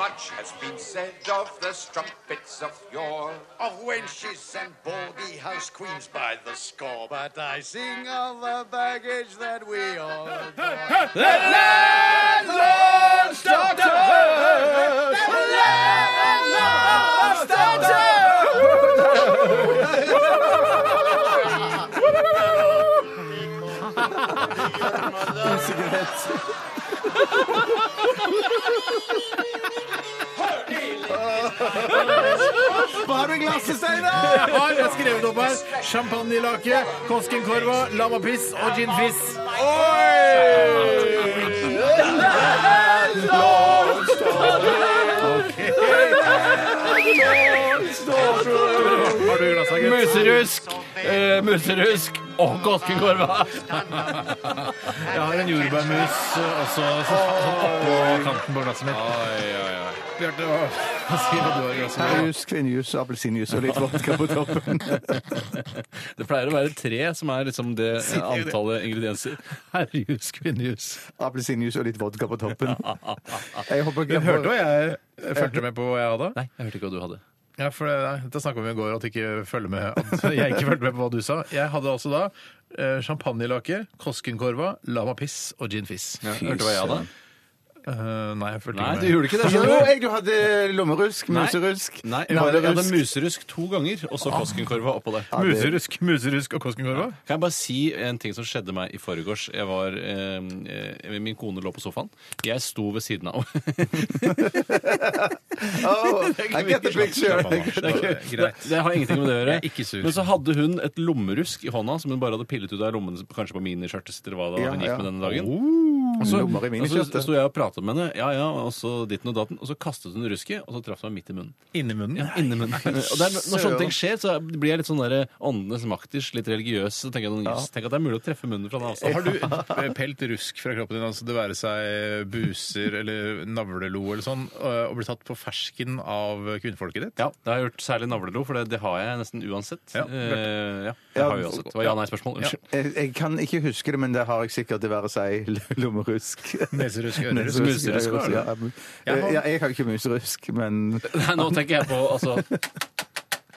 Much has been said of the strumpets of yore, of wenches and baldy E house queens by the score. But I sing of the baggage that we all. Hva har du i glasset, Steinar? Jeg har jeg har skrevet opp her. Champagnelake, Koskenkorva, lavapiss og ginfiss. Oi! Har du i glasset, gutt? Muserusk, eh, muserusk og koskenkorva. Jeg har en jordbærmus eh, også så- oppå kanten på glasset mitt. Bjarte, hva hva sier du du har i glasset? ditt? Herrejus, kvinnejus, appelsinjuice og litt vodka på toppen. Det pleier å være tre som er liksom det eh, antallet ingredienser. Herrejus, kvinnejus. Appelsinjuice og litt vodka på toppen. Jeg håper Du ikke hørte hva jeg fulgte med på hva jeg hadde? Nei, jeg hørte ikke hva du hadde. Ja, for det, nei, Dette snakka vi om i går, at, ikke følger med, at jeg ikke fulgte med på hva du sa. Jeg hadde altså da eh, champagnelake, Koskenkorva, Lamapiss og gin fizz. Hørte hva jeg hadde? Eh, nei, jeg fulgte Nei, ikke du med. gjorde ikke det. Jo, skjønner du? jeg, du hadde lommerusk, muserusk, Nei, jeg hadde, jeg hadde nålerusk. muserusk to ganger, og så koskenkorva oppå der. Ah. Muserusk, muserusk og Koskenkorva? Kan jeg bare si en ting som skjedde meg i forgårs? Jeg var, eh, eh, min kone lå på sofaen. Jeg sto ved siden av Oh, I get the picture. det, er ikke- Greit. det, det har ingenting med det å gjøre. Jeg er ikke sur. Men så hadde hun et lommerusk i hånda som hun bare hadde pillet ut av lommen, kanskje på miniskjørtet sitt, eller hva det var hun Ja, gikk ja. med denne dagen. Og så- Lommer i Og så miniskjørtet. sto jeg og pratet med henne, ja, ja, og så ditten og datten, og så kastet hun rusket, og så traff hun meg midt i munnen. Inni munnen? Ja, inni munnen. Og det er, når sånne ting skjer, så blir jeg litt sånn der åndenes makters, litt religiøs. Så tenker jeg sånn, jøss, tenk at det er mulig å treffe munnen fra en avstand. Har du eh, pelt rusk fra kroppen din, altså det være seg buser eller navlelo eller sånn, eh, og blitt tatt på fersken av kvinnfolket ditt? Ja, det har jeg gjort særlig navlelo, for det, det har jeg nesten uansett. Ja, Eh, ja, det har jeg uansett. Det var ja-nei-spørsmål. Unnskyld. Jeg, jeg kan ikke huske det, men det har jeg sikkert det være seg lommerusk. Neserusk, ørerusk. Neserusk, ørerusk, Muserusk, var ja. Jeg har- Ja, jeg har ikke muserusk, men Nei, nå tenker jeg på altså,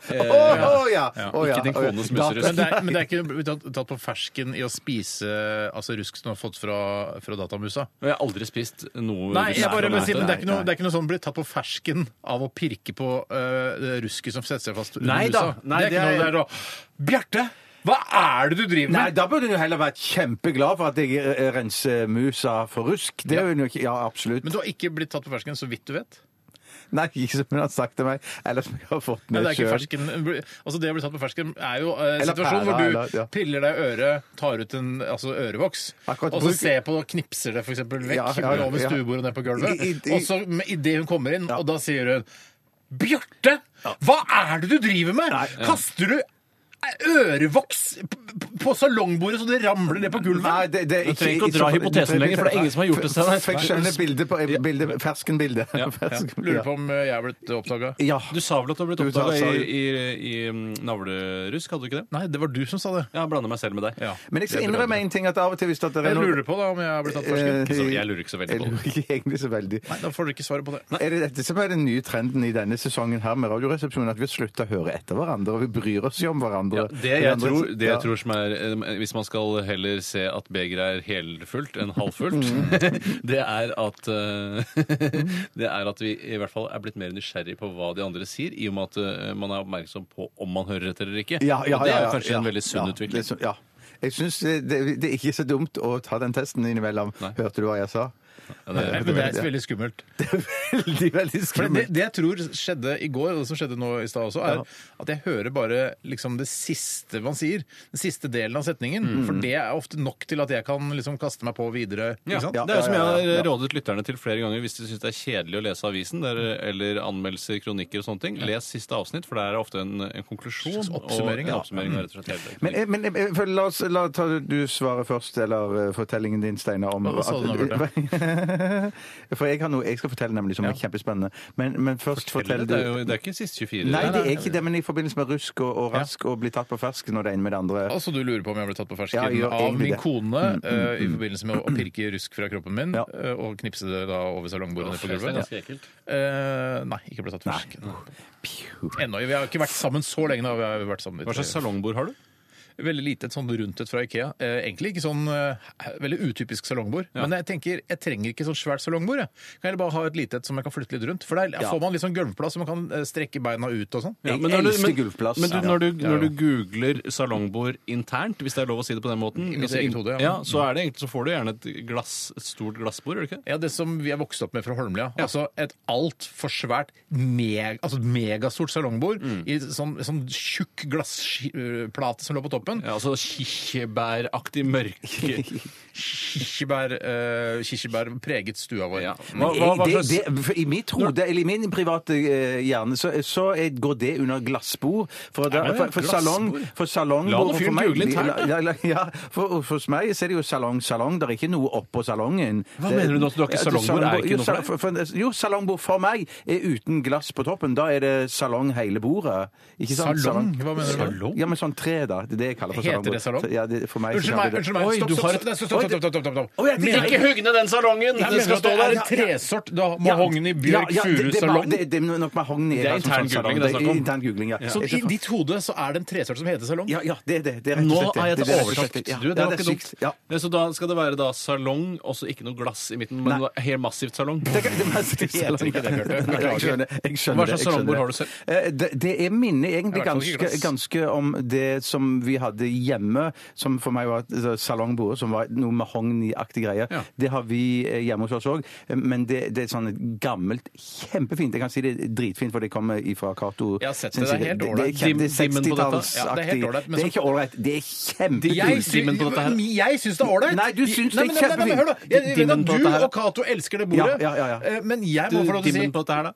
Å å, ja! å, ja. Ikke din kones Da- muserusk. Men det, er, men det er ikke blitt tatt, tatt på fersken i å spise altså rusk som du har fått fra, fra datamusa? Jeg har aldri spist noe Nei, jeg bare vil Nei, si, men det er nei. ikke noe, det er ikke noe sånn blir tatt på fersken av å pirke på øh, det rusket som setter seg fast under Nei da, musa. nei, det er ikke det noe er- der å Bjarte! Hva er det du driver Nei, med? da burde hun jo heller vært kjempeglad for at jeg eh, renser musa for rusk. Det er hun jo ikke. Ja, absolutt. Men du har ikke blitt tatt på fersken, så vidt du vet. Nei, ikke som hun har sagt til meg, eller som jeg har fått Nei, med det er ikke sjøl. fersken. Altså det å bli tatt på fersken er jo eh, en Eller situasjon pæra, hvor du eller- ja. piller deg i øret, tar ut en altså, ørevoks, Akkurat og så bruk- ser på og knipser det for eksempel vekk Ja, ja, ja. over stuebordet og ned på gulvet. I- i- i- Og så idet hun kommer inn, og da sier hun Bjarte! Hva er det du driver med?! Kaster du ørevoks p- p- på salongbordet så det ramler ned på gulvet? Nei, det, det er Du trenger ikke å dra hypotesen lenger, for det er ingen som har gjort det, Steinar. Fikk skjønne bildet på bildet, ferskenbildet. Ja, ja. Fersken- Lurer på om eh, jeg er blitt oppdaga. Ja. Du sa vel at du har blitt Du sa- oppdaga sa- i, i, i mm, navlerusk, hadde du ikke det? Nei, det var du som sa det. Jeg blander meg selv med deg. Ja. Men jeg skal innrømme en ting at av og til hvis at det er Jeg noe- lurer på da om jeg har blitt tatt på fersken. Eh, Så jeg lurer ikke så veldig Jeg på det. lurer ikke egentlig så veldig. Nei, da får dere ikke svaret på det. Er det dette som er den nye trenden i denne sesongen her med Radioresepsjonen? At vi har slutta å høre etter hverandre, og vi bryr oss jo om hverandre. Ja, det jeg Hverandre- tror, det Ja. jeg tror som er eh, Hvis man skal heller se at begeret er helfullt enn halvfullt, Mm. det er at eh, Det er at vi i hvert fall er blitt mer nysgjerrig på hva de andre sier, i og med at eh, man er oppmerksom på om man hører etter eller ikke. Ja, ja, Og det ja, ja, er jo kanskje ja, en veldig sunn ja, utvikling. det er så- ja. Jeg syns det, det er ikke så dumt å ta den testen innimellom. Hørte du hva jeg sa? det Men er det er veldig skummelt. Veldig, veldig For det, skummelt. det jeg tror skjedde i går, og det som skjedde nå i stad også, er at jeg hører bare liksom det siste man sier. Den siste delen av setningen. Mm. For det er ofte nok til at jeg kan liksom kaste meg på videre. Ja, Ikke sant? Det er jo som jeg ja, ja, ja. har rådet lytterne til flere ganger hvis de syns det er kjedelig å lese avisen der, eller anmeldelser, kronikker og sånne ting. Les siste avsnitt, for det er ofte en, en konklusjon. Slags oppsummering, og, ja. ja, oppsummering og rett og slett hele Men, eh, men eh, for la oss la, ta du svaret først, eller eh, fortellingen din, Steinar. om- Hva sa du nå, For jeg, har noe, jeg skal fortelle nemlig som er kjempespennende. Men, men først fortell Eller, du det, er jo, det er ikke siste 24. Nei, det er ikke det, men i forbindelse med rusk og, og rask og bli tatt på fersken og det ene med det andre. Altså, du lurer på om jeg ble tatt på Ja, fersken jeg gjør av min egentlig det. Mm, kone eh, i forbindelse med å- å pirke rusk fra kroppen min Ja. eh, og knipse det da over salongbordet nede på Det er gulvet. ganske ekkelt. Eh, nei, ikke ble tatt på fersken. Ennå. Vi har ikke vært sammen så lenge. Da. Vi har vært sammen i Hva tre- slags salongbord har du? Veldig lite, et sånn rundt et fra Ikea. Eh, egentlig ikke sånn eh, veldig utypisk salongbord. Men jeg tenker, jeg trenger ikke sånn svært salongbord. Jeg. Kan heller bare ha et lite et som jeg kan flytte litt rundt. For der får man litt sånn gulvplass, så man kan eh, strekke beina ut og sånn. Jeg men når du- elsker men- gulvplass. Men du, Ja. når, du, når du googler salongbord internt, hvis det er lov å si det på den I måten, mitt altså, eget in- hode, ja. ja. så, er det, egentlig- så får du gjerne et, glass, et stort glassbord, gjør du ikke? Ja, Det som vi er vokst opp med fra Holmlia. Altså et altfor svært, meg, altså et megastort salongbord Mm. i sånn, sånn tjukk glassplate som lå på toppen. Ja, altså kirsebæraktig mørke Kirsebær, eh, kirsebær preget stua vår. ja. Mm. hva, hva, hva Jeg- slags det, det, for I mitt hode, eller i min private eh, hjerne, så, så er, går det under glassbord. For, da, men for, for, salong, for salongbord La nå og for fyren meg- google internt, da. Ja, ja, ja, for, for meg så er det jo salong, salong. Det er ikke noe oppå salongen. Hva Det- mener du nå at du har ikke Ja, salongbord? Er ikke jo, noe for sal- deg? for, for, jo, salongbord for meg er uten glass på toppen. Da er det salong hele bordet. Ikke sant? Salong? Hva mener du? med det? Salong? Ja, men sånn tre, da. Det er det jeg kaller for Heter det salongbord. salong? Ja, det, for meg så Unnskyld kaller meg, vi det- unnskyld meg. Oi, Stopp, du stopp, har stopp, et- stopp, stopp, stopp, stopp, stopp, Oi, jeg- stopp. Mener- Ikke hugne den salongen! Jeg Den mener skal at det stå der! er en tresort. Du har mahogni, bjørk, Ja, ja, det- furu, det er ma- salong. Det, det er nok mahogni. Det er da, som intern sånn salong. googling det er snakk om. Intern googling, ja. Så i ditt hode så er det en tresort som heter salong? Ja, ja, det er det. det er rett og Nå slett det. har jeg Det tatt er rett og slett oversikt. det. Ja, Du, det ja, var er ikke dumt. sykt. Ja. Ja, Så da skal det være da salong, og så ikke noe glass i midten, men da helt massivt salong? Det kan- det- det- heter ikke det, Bjørte. Nei, Jeg skjønner jeg skjønner Hva det, jeg skjønner slags salongbord det. har du selv? Eh, Det, det er minnet egentlig Det er i hvert fall ikke ganske, glass. ganske om det som vi hadde hjemme, som for meg var et eh, salongbord, som var noe mahogniaktig greie. Ja. Det har vi eh, hjemme hos oss òg, men det, det er sånn et gammelt, kjempefint Jeg kan si det er dritfint, for det kommer ifra Cato. Jeg har sett det, det er helt ålreit. Det, det er Dim- dimmen på dette? Ja, det er helt 60-tallsaktig. ålreit, men det så- er ikke ålreit, det er Jeg, kjempefint. sy dimmen på dette her. jeg syns det er ålreit. Nei, du syns Nei, det er men- nei, men- nei, men Hør, da. Jeg vet Dimmen at på dette du her. og Cato elsker det bordet, Ja, ja, ja, ja. eh, men jeg må Du, få lov til å si dimmen på dette her, da?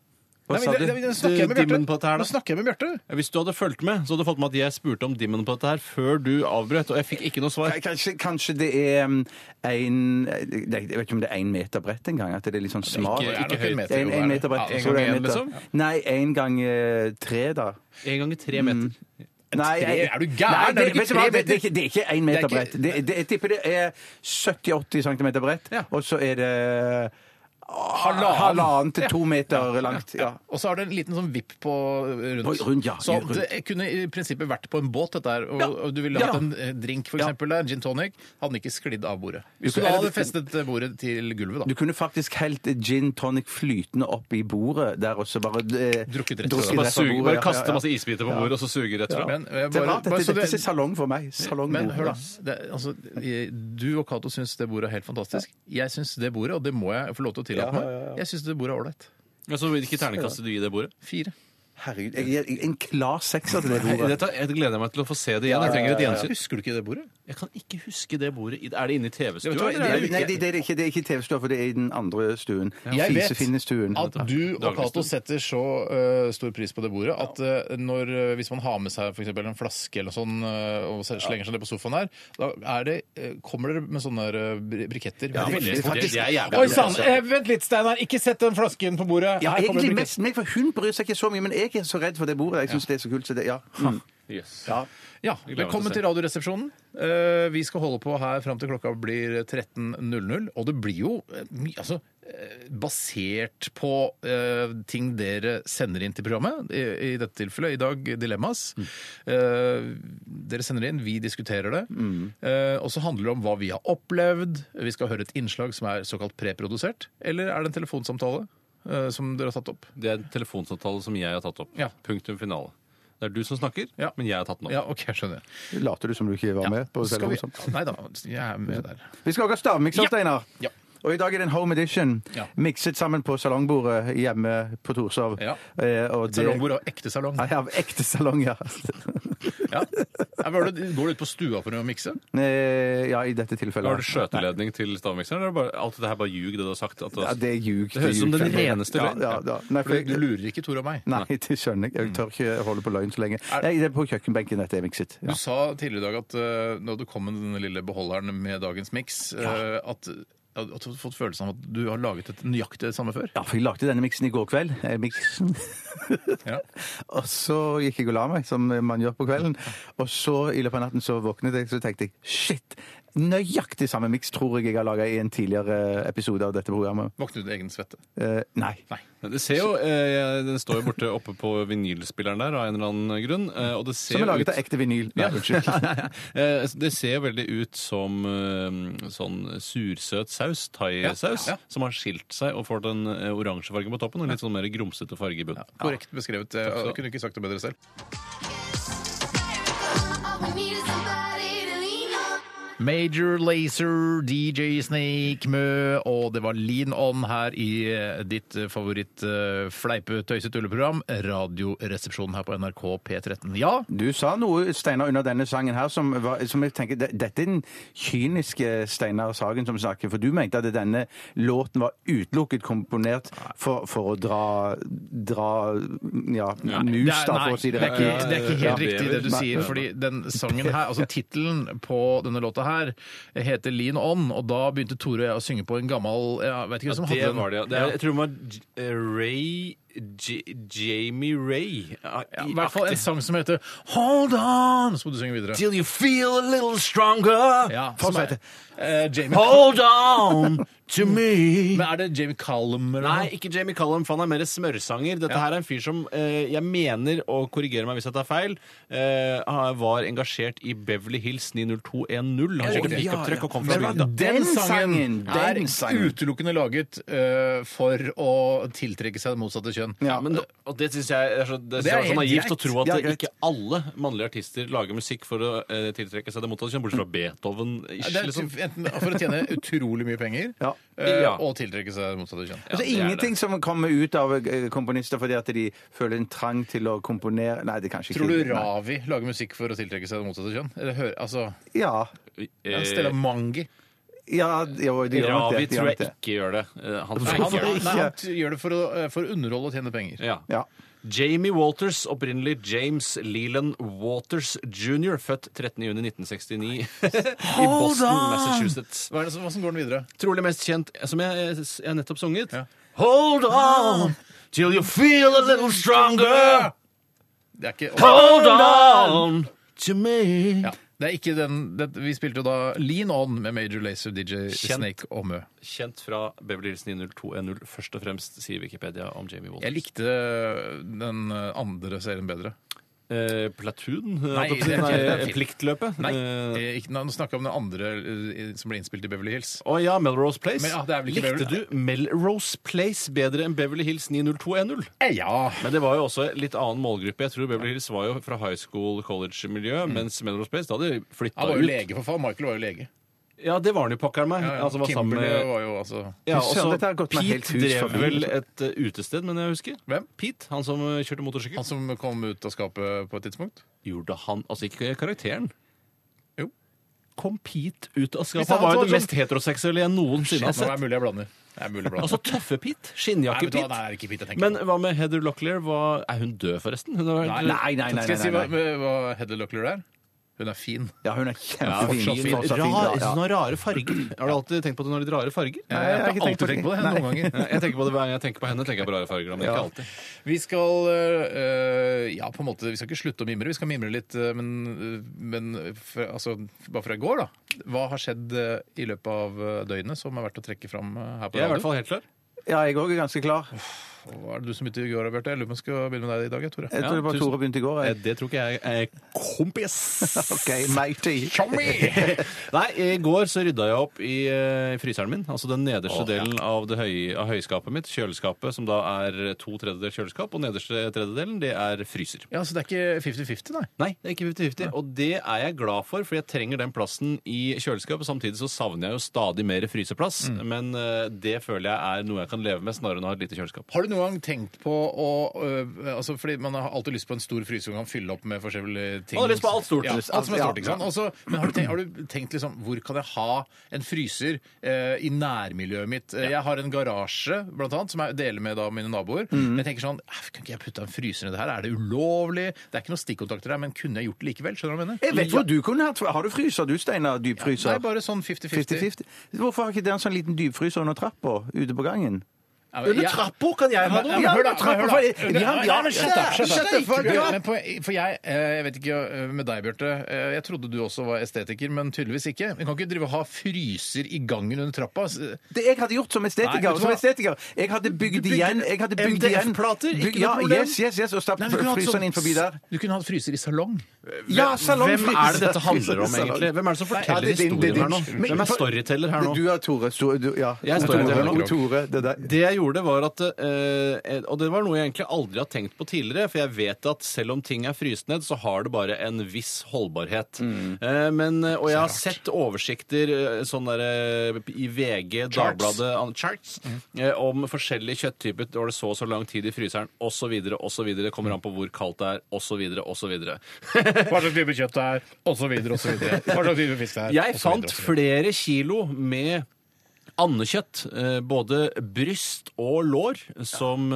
Hva Nei, sa men det- du? det- det- nå snakker jeg med Du, Bjarte. dimmen på dette her, da? Nå snakker jeg med Bjarte. Hvis du hadde fulgt med, så hadde du fått med at jeg spurte om dimmen på dette her før du avbrøt, og jeg fikk ikke noe svar. Nei, Kanskje, kanskje det er um, en Jeg vet ikke om det er én meter bredt engang. At det er litt sånn smalt. ikke- ikke høyt. Det er en, en liksom. meter bredt. Ja, en så det er gang en en, meter. Nei, én gang eh, tre, da. En gang i tre Mm. meter. Nei, jeg- er du gæren? Nei, Er det det, ikke vet du hva, tre det, det, meter? er ikke- det er ikke én meter Det er ikke- bredt. Det, det, jeg tipper det er 70-80 cm bredt, Ja. og så er det ah, Halvannen. halvannen til to meter langt. Ja. Og så har det en liten sånn vipp på rundt. På- rundt, ja, så rundt. det kunne i prinsippet vært på en båt, dette her. Og, Ja. og du ville Ja. hatt en eh, drink, for Ja. eksempel, der, en gin tonic, hadde den ikke sklidd av bordet. Du Hvis du kunne- hadde festet eh, bordet til gulvet, Du da. kunne faktisk helt gin tonic flytende opp i bordet der også. Bare, Drukket rett fra eh, drukket det. Bare, rett fra suge, bordet, bare ja, ja, kaste ja. masse isbiter på bordet, og så suge rett fra. Men, eh, Det er bare- rart. bare Dette, så dette du- er salong for meg. Salong Men hør, da. Det, altså, i- du og Cato syns det bordet er helt fantastisk. Jeg syns det bordet, og det må jeg få lov til å tillate meg, jeg syns det bordet er ålreit. Ja, så Hvilke terningkast du gir det bordet? Fire. Herregud, jeg gir en klar sekser til det bordet. Dette, jeg gleder meg til å få se det igjen. Jeg trenger et gjensyn. Husker du ikke det bordet? Jeg kan ikke huske det bordet. i- Er det inne i Ja, vet du hva, TV-stua? det er eller? jo- Nei, det, det er det ikke det er ikke TV-stua, for det er i den andre stuen. Jeg vet Fisefine-stuen. at du og Cato Dagligstuen. setter så ø, stor pris på det bordet at ø, når, ø, hvis man har med seg for eksempel en flaske eller noe sånn, ø, og så slenger seg ned på sofaen her, da er det, ø, kommer dere med sånne ø, bri- briketter. Ja, men det- det- det er jævlig. Oi sann! eh, Vent litt, Steinar. Ikke sett den flasken på bordet. Ja, Her kommer egentlig det mest meg, for hun bryr seg ikke så mye, men jeg er så redd for det bordet. Jeg syns det er så kult. Så det, ja. Mm. Yes. briketter. ja, gleder meg til å Velkommen se. til Radioresepsjonen. Eh, vi skal holde på her fram til klokka blir 13.00. Og det blir jo eh, mye altså, eh, basert på eh, ting dere sender inn til programmet. I, i dette tilfellet i dag Dilemmas. Mm. Eh, dere sender inn, vi diskuterer det. Mm. Eh, og så handler det om hva vi har opplevd. Vi skal høre et innslag som er såkalt preprodusert. Eller er det en telefonsamtale eh, som dere har tatt opp? Det er en telefonsamtale som jeg har tatt opp. Ja. Punktum finale. Det er du som snakker, Ja. men jeg har tatt den opp. Ja, OK, jeg skjønner. Later du som du ikke var med? på Skal vi... telefonsamtalen? Nei da, jeg er med der. Vi skal også ha stavmikser, Ja. Steinar. Ja. Og i dag er det en home edition. Ja. Mikset sammen på salongbordet hjemme på Torshov. Ja. Eh, og det- Salongbord og ekte salong. Ja, av ekte salong, ja. Ja. Ja, men Går du går du ut på stua for å mikse? Eh, ja, i dette tilfellet. Har du skjøteledning til stavmikseren? eller er det bare- Alt dette her bare ljug, det du har sagt? At, Ja, det er ljug. altså. Det høres er som ljug. den reneste ja, løgn. ja, ja. Nei, For du for, lurer ikke Tor og meg. nei, det skjønner jeg. Jeg tør ikke holde på løgn så lenge. Er- Nei, det er på kjøkkenbenken dette er mikset. Du Ja. sa tidligere i dag at eh, når du kom med den lille beholderen med dagens miks, eh, at, at du har fått følelsen av at du har laget et nøyaktig samme før. Ja, for jeg lagde denne miksen i går kveld. Eh, miksen. Ja. Og så gikk jeg og la meg, som man gjør på kvelden. Og så i løpet av natten så våknet jeg, så tenkte jeg shit! Nøyaktig samme miks tror jeg jeg har laga i en tidligere eh, episode av dette programmet. Våknet ut i egen svette. Eh, nei. Men Det ser jo, eh, Den står jo borte oppe på vinylspilleren der av en eller annen grunn. eh, Og det ser Som er jo laget ut- av ekte vinyl. Nei, Ja. unnskyld. Eh, Det ser veldig ut som eh, sånn sursøt saus, thaisaus, Ja, ja. som har skilt seg og fått en eh, oransje farge på toppen og litt sånn mer grumsete farge i bunnen. Korrekt beskrevet. eh, skal du ha. Jeg kunne ikke sagt det bedre selv. All we need is somebody to lean on. Major Lazer, DJ Snake Mø, og det var Lean On her i eh, ditt eh, favoritt eh, fleipe tøyse tulleprogram, Radioresepsjonen her på NRK P13. Ja, Du sa noe, Steinar, under denne sangen her som, var, som jeg tenker det- Dette er den kyniske Steinar Sagen som snakker, for du mente at denne låten var utelukket komponert for, for å dra, dra ja, mus, da, nei, for å si det det er riktig. ikke- Det er ikke helt Ja. riktig det du Nei. sier, fordi den sangen her, altså tittelen på denne låta her, heter Lean On, og da begynte Tore og jeg å synge på en gammel Jeg vet ikke hvem som hadde det den. var det, ja. Det er, jeg tror det var J- eh, Ray J Jamie Ray. Ja, I hvert fall en sang som heter Hold On, så må du synge videre. Till you feel a little stronger. Ja, Fortsett. som er, eh, Jamie, Hold on to me. men er det Jamie Callum eller Nei, noe? ikke Jamie Callum, for han er mer smørsanger. Dette Ja. her er en fyr som eh, jeg mener, og korrigerer meg hvis jeg tar feil, eh, han var engasjert i Beverly Hills 90210. Han kjørte ja, pickuptruck ja. og kom fra Det var bygda. Den sangen, er den sangen. utelukkende laget eh, for å tiltrekke seg det motsatte kjønn. Ja. Men, og det syns jeg er så, det Det synes er jeg er så helt naivt å greit. tro at Ja, greit. ikke alle mannlige artister lager musikk for å eh, tiltrekke seg det motsatte kjønn, bortsett fra Beethoven. Ish, Det er liksom. enten for å tjene utrolig mye penger Ja. eh, Ja. og tiltrekke seg det motsatte kjønn. Altså, det er ingenting som kommer ut av eh, komponister fordi at de føler en trang til å komponere Nei, det er kanskje Tror ikke du Ravi lager musikk for å tiltrekke seg det motsatte kjønn? Eller hører, altså, Ja. ja, Stella Eh, Mangi. ja, jo, de gjør nok det, Ravi de gjør tror nok jeg det. ikke gjør det. Eh, Han Nei, tror han, ikke gjør det. nei, han t- gjør det for å, eh, for å underholde og tjene penger. Ja. Ja. Jamie Walters, opprinnelig James Leland Waters jr., født 13.6.1969 i Boston, Massachusetts. Hva er det som, hvordan går den videre? Trolig mest kjent, som jeg, jeg nettopp sunget. Ja. Hold on till you feel a little stronger. Det er ikke, Hold on to me. ja, det er ikke den, det, vi spilte jo da Lean On med Major Lazer, DJ Kjent. Snake og Mø. Kjent fra Beverly Hills 90210, først og fremst, sier Wikipedia om Jamie Walters. Jeg likte den eh, andre serien bedre. Eh, Platoon? Nei, Nei, det er ikke- det er film. Pliktløpet? Nei, Eh, eh, ikke, nå snakka jeg om den andre eh, som ble innspilt i Beverly Hills. Å ja, Melrose Place. Men, ja, det er vel ikke Likte Beverly- du Melrose Place bedre enn Beverly Hills 90210? ja. Men det var jo også litt annen målgruppe. Jeg tror Beverly Hills var jo fra high school, college-miljø, mens Melrose Place da hadde de Han flytta Mm. var jo ut. lege, for faen. Michael var jo lege. Ja, det var han jo pokker meg. Ja, ja. Altså, var sammen Kimberly med... var jo altså Ja, Fy søren, også dette har gått meg helt Pete hus drev forbi. vel et eh, utested, men jeg husker. Hvem? Pete, han som eh, kjørte motorsykkel. Han som kom ut av skapet på et tidspunkt? Gjorde han Altså ikke karakteren. Jo. Kom Pete ut av skapet. Hvis han Han var var jo det sånn- mest heteroseksuelle jeg Nå noensinne har er det sett. mulig jeg blander. Det er mulig jeg blander. Altså Nei, tøffe Pete. vet du hva? Skinnjakke-Pete. Nei, det er ikke Pete jeg tenker Men på. hva med Heather Locklear? Hva, er hun død, forresten? Hun har, Nei, nei, nei, nei, Skal jeg si hva, nei, nei. hva Heather Luckler er? Hun er fin. Ja, hun er fortsatt kjempefin. fin. Fortsatt fin, rar, ja. Hun har rare farger. Har du alltid tenkt på at hun har litt rare farger? Jeg jeg har har alltid ikke tenkt på tenkt på det. det. Noen ganger. Jeg tenker på det hver gang jeg tenker på henne, tenker jeg på rare farger. Men ikke alltid. Vi skal øh, Ja, på en måte, vi skal ikke slutte å mimre. Vi skal mimre litt, øh, men, øh, men fra, altså, bare fra i går, da. Hva har skjedd øh, i løpet av øh, døgnet som er verdt å trekke fram øh, her på Jeg er i hvert radio? fall helt klar. Ja, jeg òg er ganske klar. Hva er det du som begynte i går, Bjarte? Jeg lurer på om jeg skal begynne med deg i dag, jeg, Tore. Jeg Ja, tror det var tusen- Tore begynte i går. Eh, Jeg. Det tror ikke jeg er kompis. OK, matey. Nei, i går så rydda jeg opp i eh, fryseren min. Altså den nederste delen av, det høy, av høyskapet mitt, kjøleskapet, som da er to tredjedel kjøleskap, og nederste tredjedelen, det er fryser. Ja, Så det er ikke 50-50, nei? Nei, det er ikke 50-50. Og det er jeg glad for, for jeg trenger den plassen i kjøleskapet. Samtidig så savner jeg jo stadig mer fryseplass, Mm. men eh, det føler jeg er noe jeg kan leve med, snarere enn å ha et lite kjøleskap. Har du noen gang tenkt på å øh, altså Fordi man har alltid lyst på en stor fryser man kan fylle opp med forskjellige ting. Man har lyst på alt stort. Ja, alt som er Ja. stort, ikke sant? Også, men har du, tenkt, har du tenkt liksom Hvor kan jeg ha en fryser eh, i nærmiljøet mitt? Eh, Jeg har en garasje, blant annet, som jeg deler med da mine naboer. Mhm. Men jeg tenker sånn "Æ, Kan ikke jeg putte en fryser i det her? Er det ulovlig? Det er ikke noen stikkontakter her, men kunne jeg gjort det likevel? Skjønner du hva jeg mener? Jeg vet hvor du kunne hatt Har du fryser, du, Steinar? Dypfryser? Nei, bare sånn 50-50. 50-50. Hvorfor har ikke dere en sånn liten dypfryser under trappa ute på gangen? Ja, men jeg- kan jeg Ja, men hør da, hør da. Ja, men shut up, shut up. Men up! på- For jeg, eh, jeg vet ikke eh, med deg, Bjarte. eh, Jeg trodde du også var estetiker, men tydeligvis ikke. Vi kan ikke drive og ha fryser i gangen under trappa. s- Det jeg hadde gjort som Nei, vet estetiker, du som hva? estetiker Jeg hadde bygd igjen jeg hadde bygd igjen- MDF-plater, ikke byg- noe Ja, problem. yes, yes, yes, og stapp Nei, du kunne hatt fryseren sånn- inn forbi der. Du kunne hatt fryser i salong. Ja, salongfryser. Hvem er det dette handler om, Salong. egentlig? Hvem er det som Ja, forteller det er din- det er historien her nå? din- Men- Hvem er storyteller her nå? Du er Tore. Sto- du- ja. Jeg er Tore, storyteller nå. Tore, Tore, det der. Det jeg gjorde var at eh, Og det var noe jeg egentlig aldri har tenkt på tidligere, for jeg vet at selv om ting er fryst ned, så har det bare en viss holdbarhet. Eh, men, eh, og jeg har sett oversikter eh, sånn der, eh, i VG, Dagbladet, an- charts, eh, om forskjellige kjøtttyper. Det var det så og så lang tid i fryseren, osv., osv. Det kommer an på hvor kaldt det er, osv., osv. Hva slags type kjøtt det er, osv., osv. Hva slags type fisk det er. Jeg og så videre, og fant så videre. flere kilo med Andekjøtt, eh, både bryst og lår, som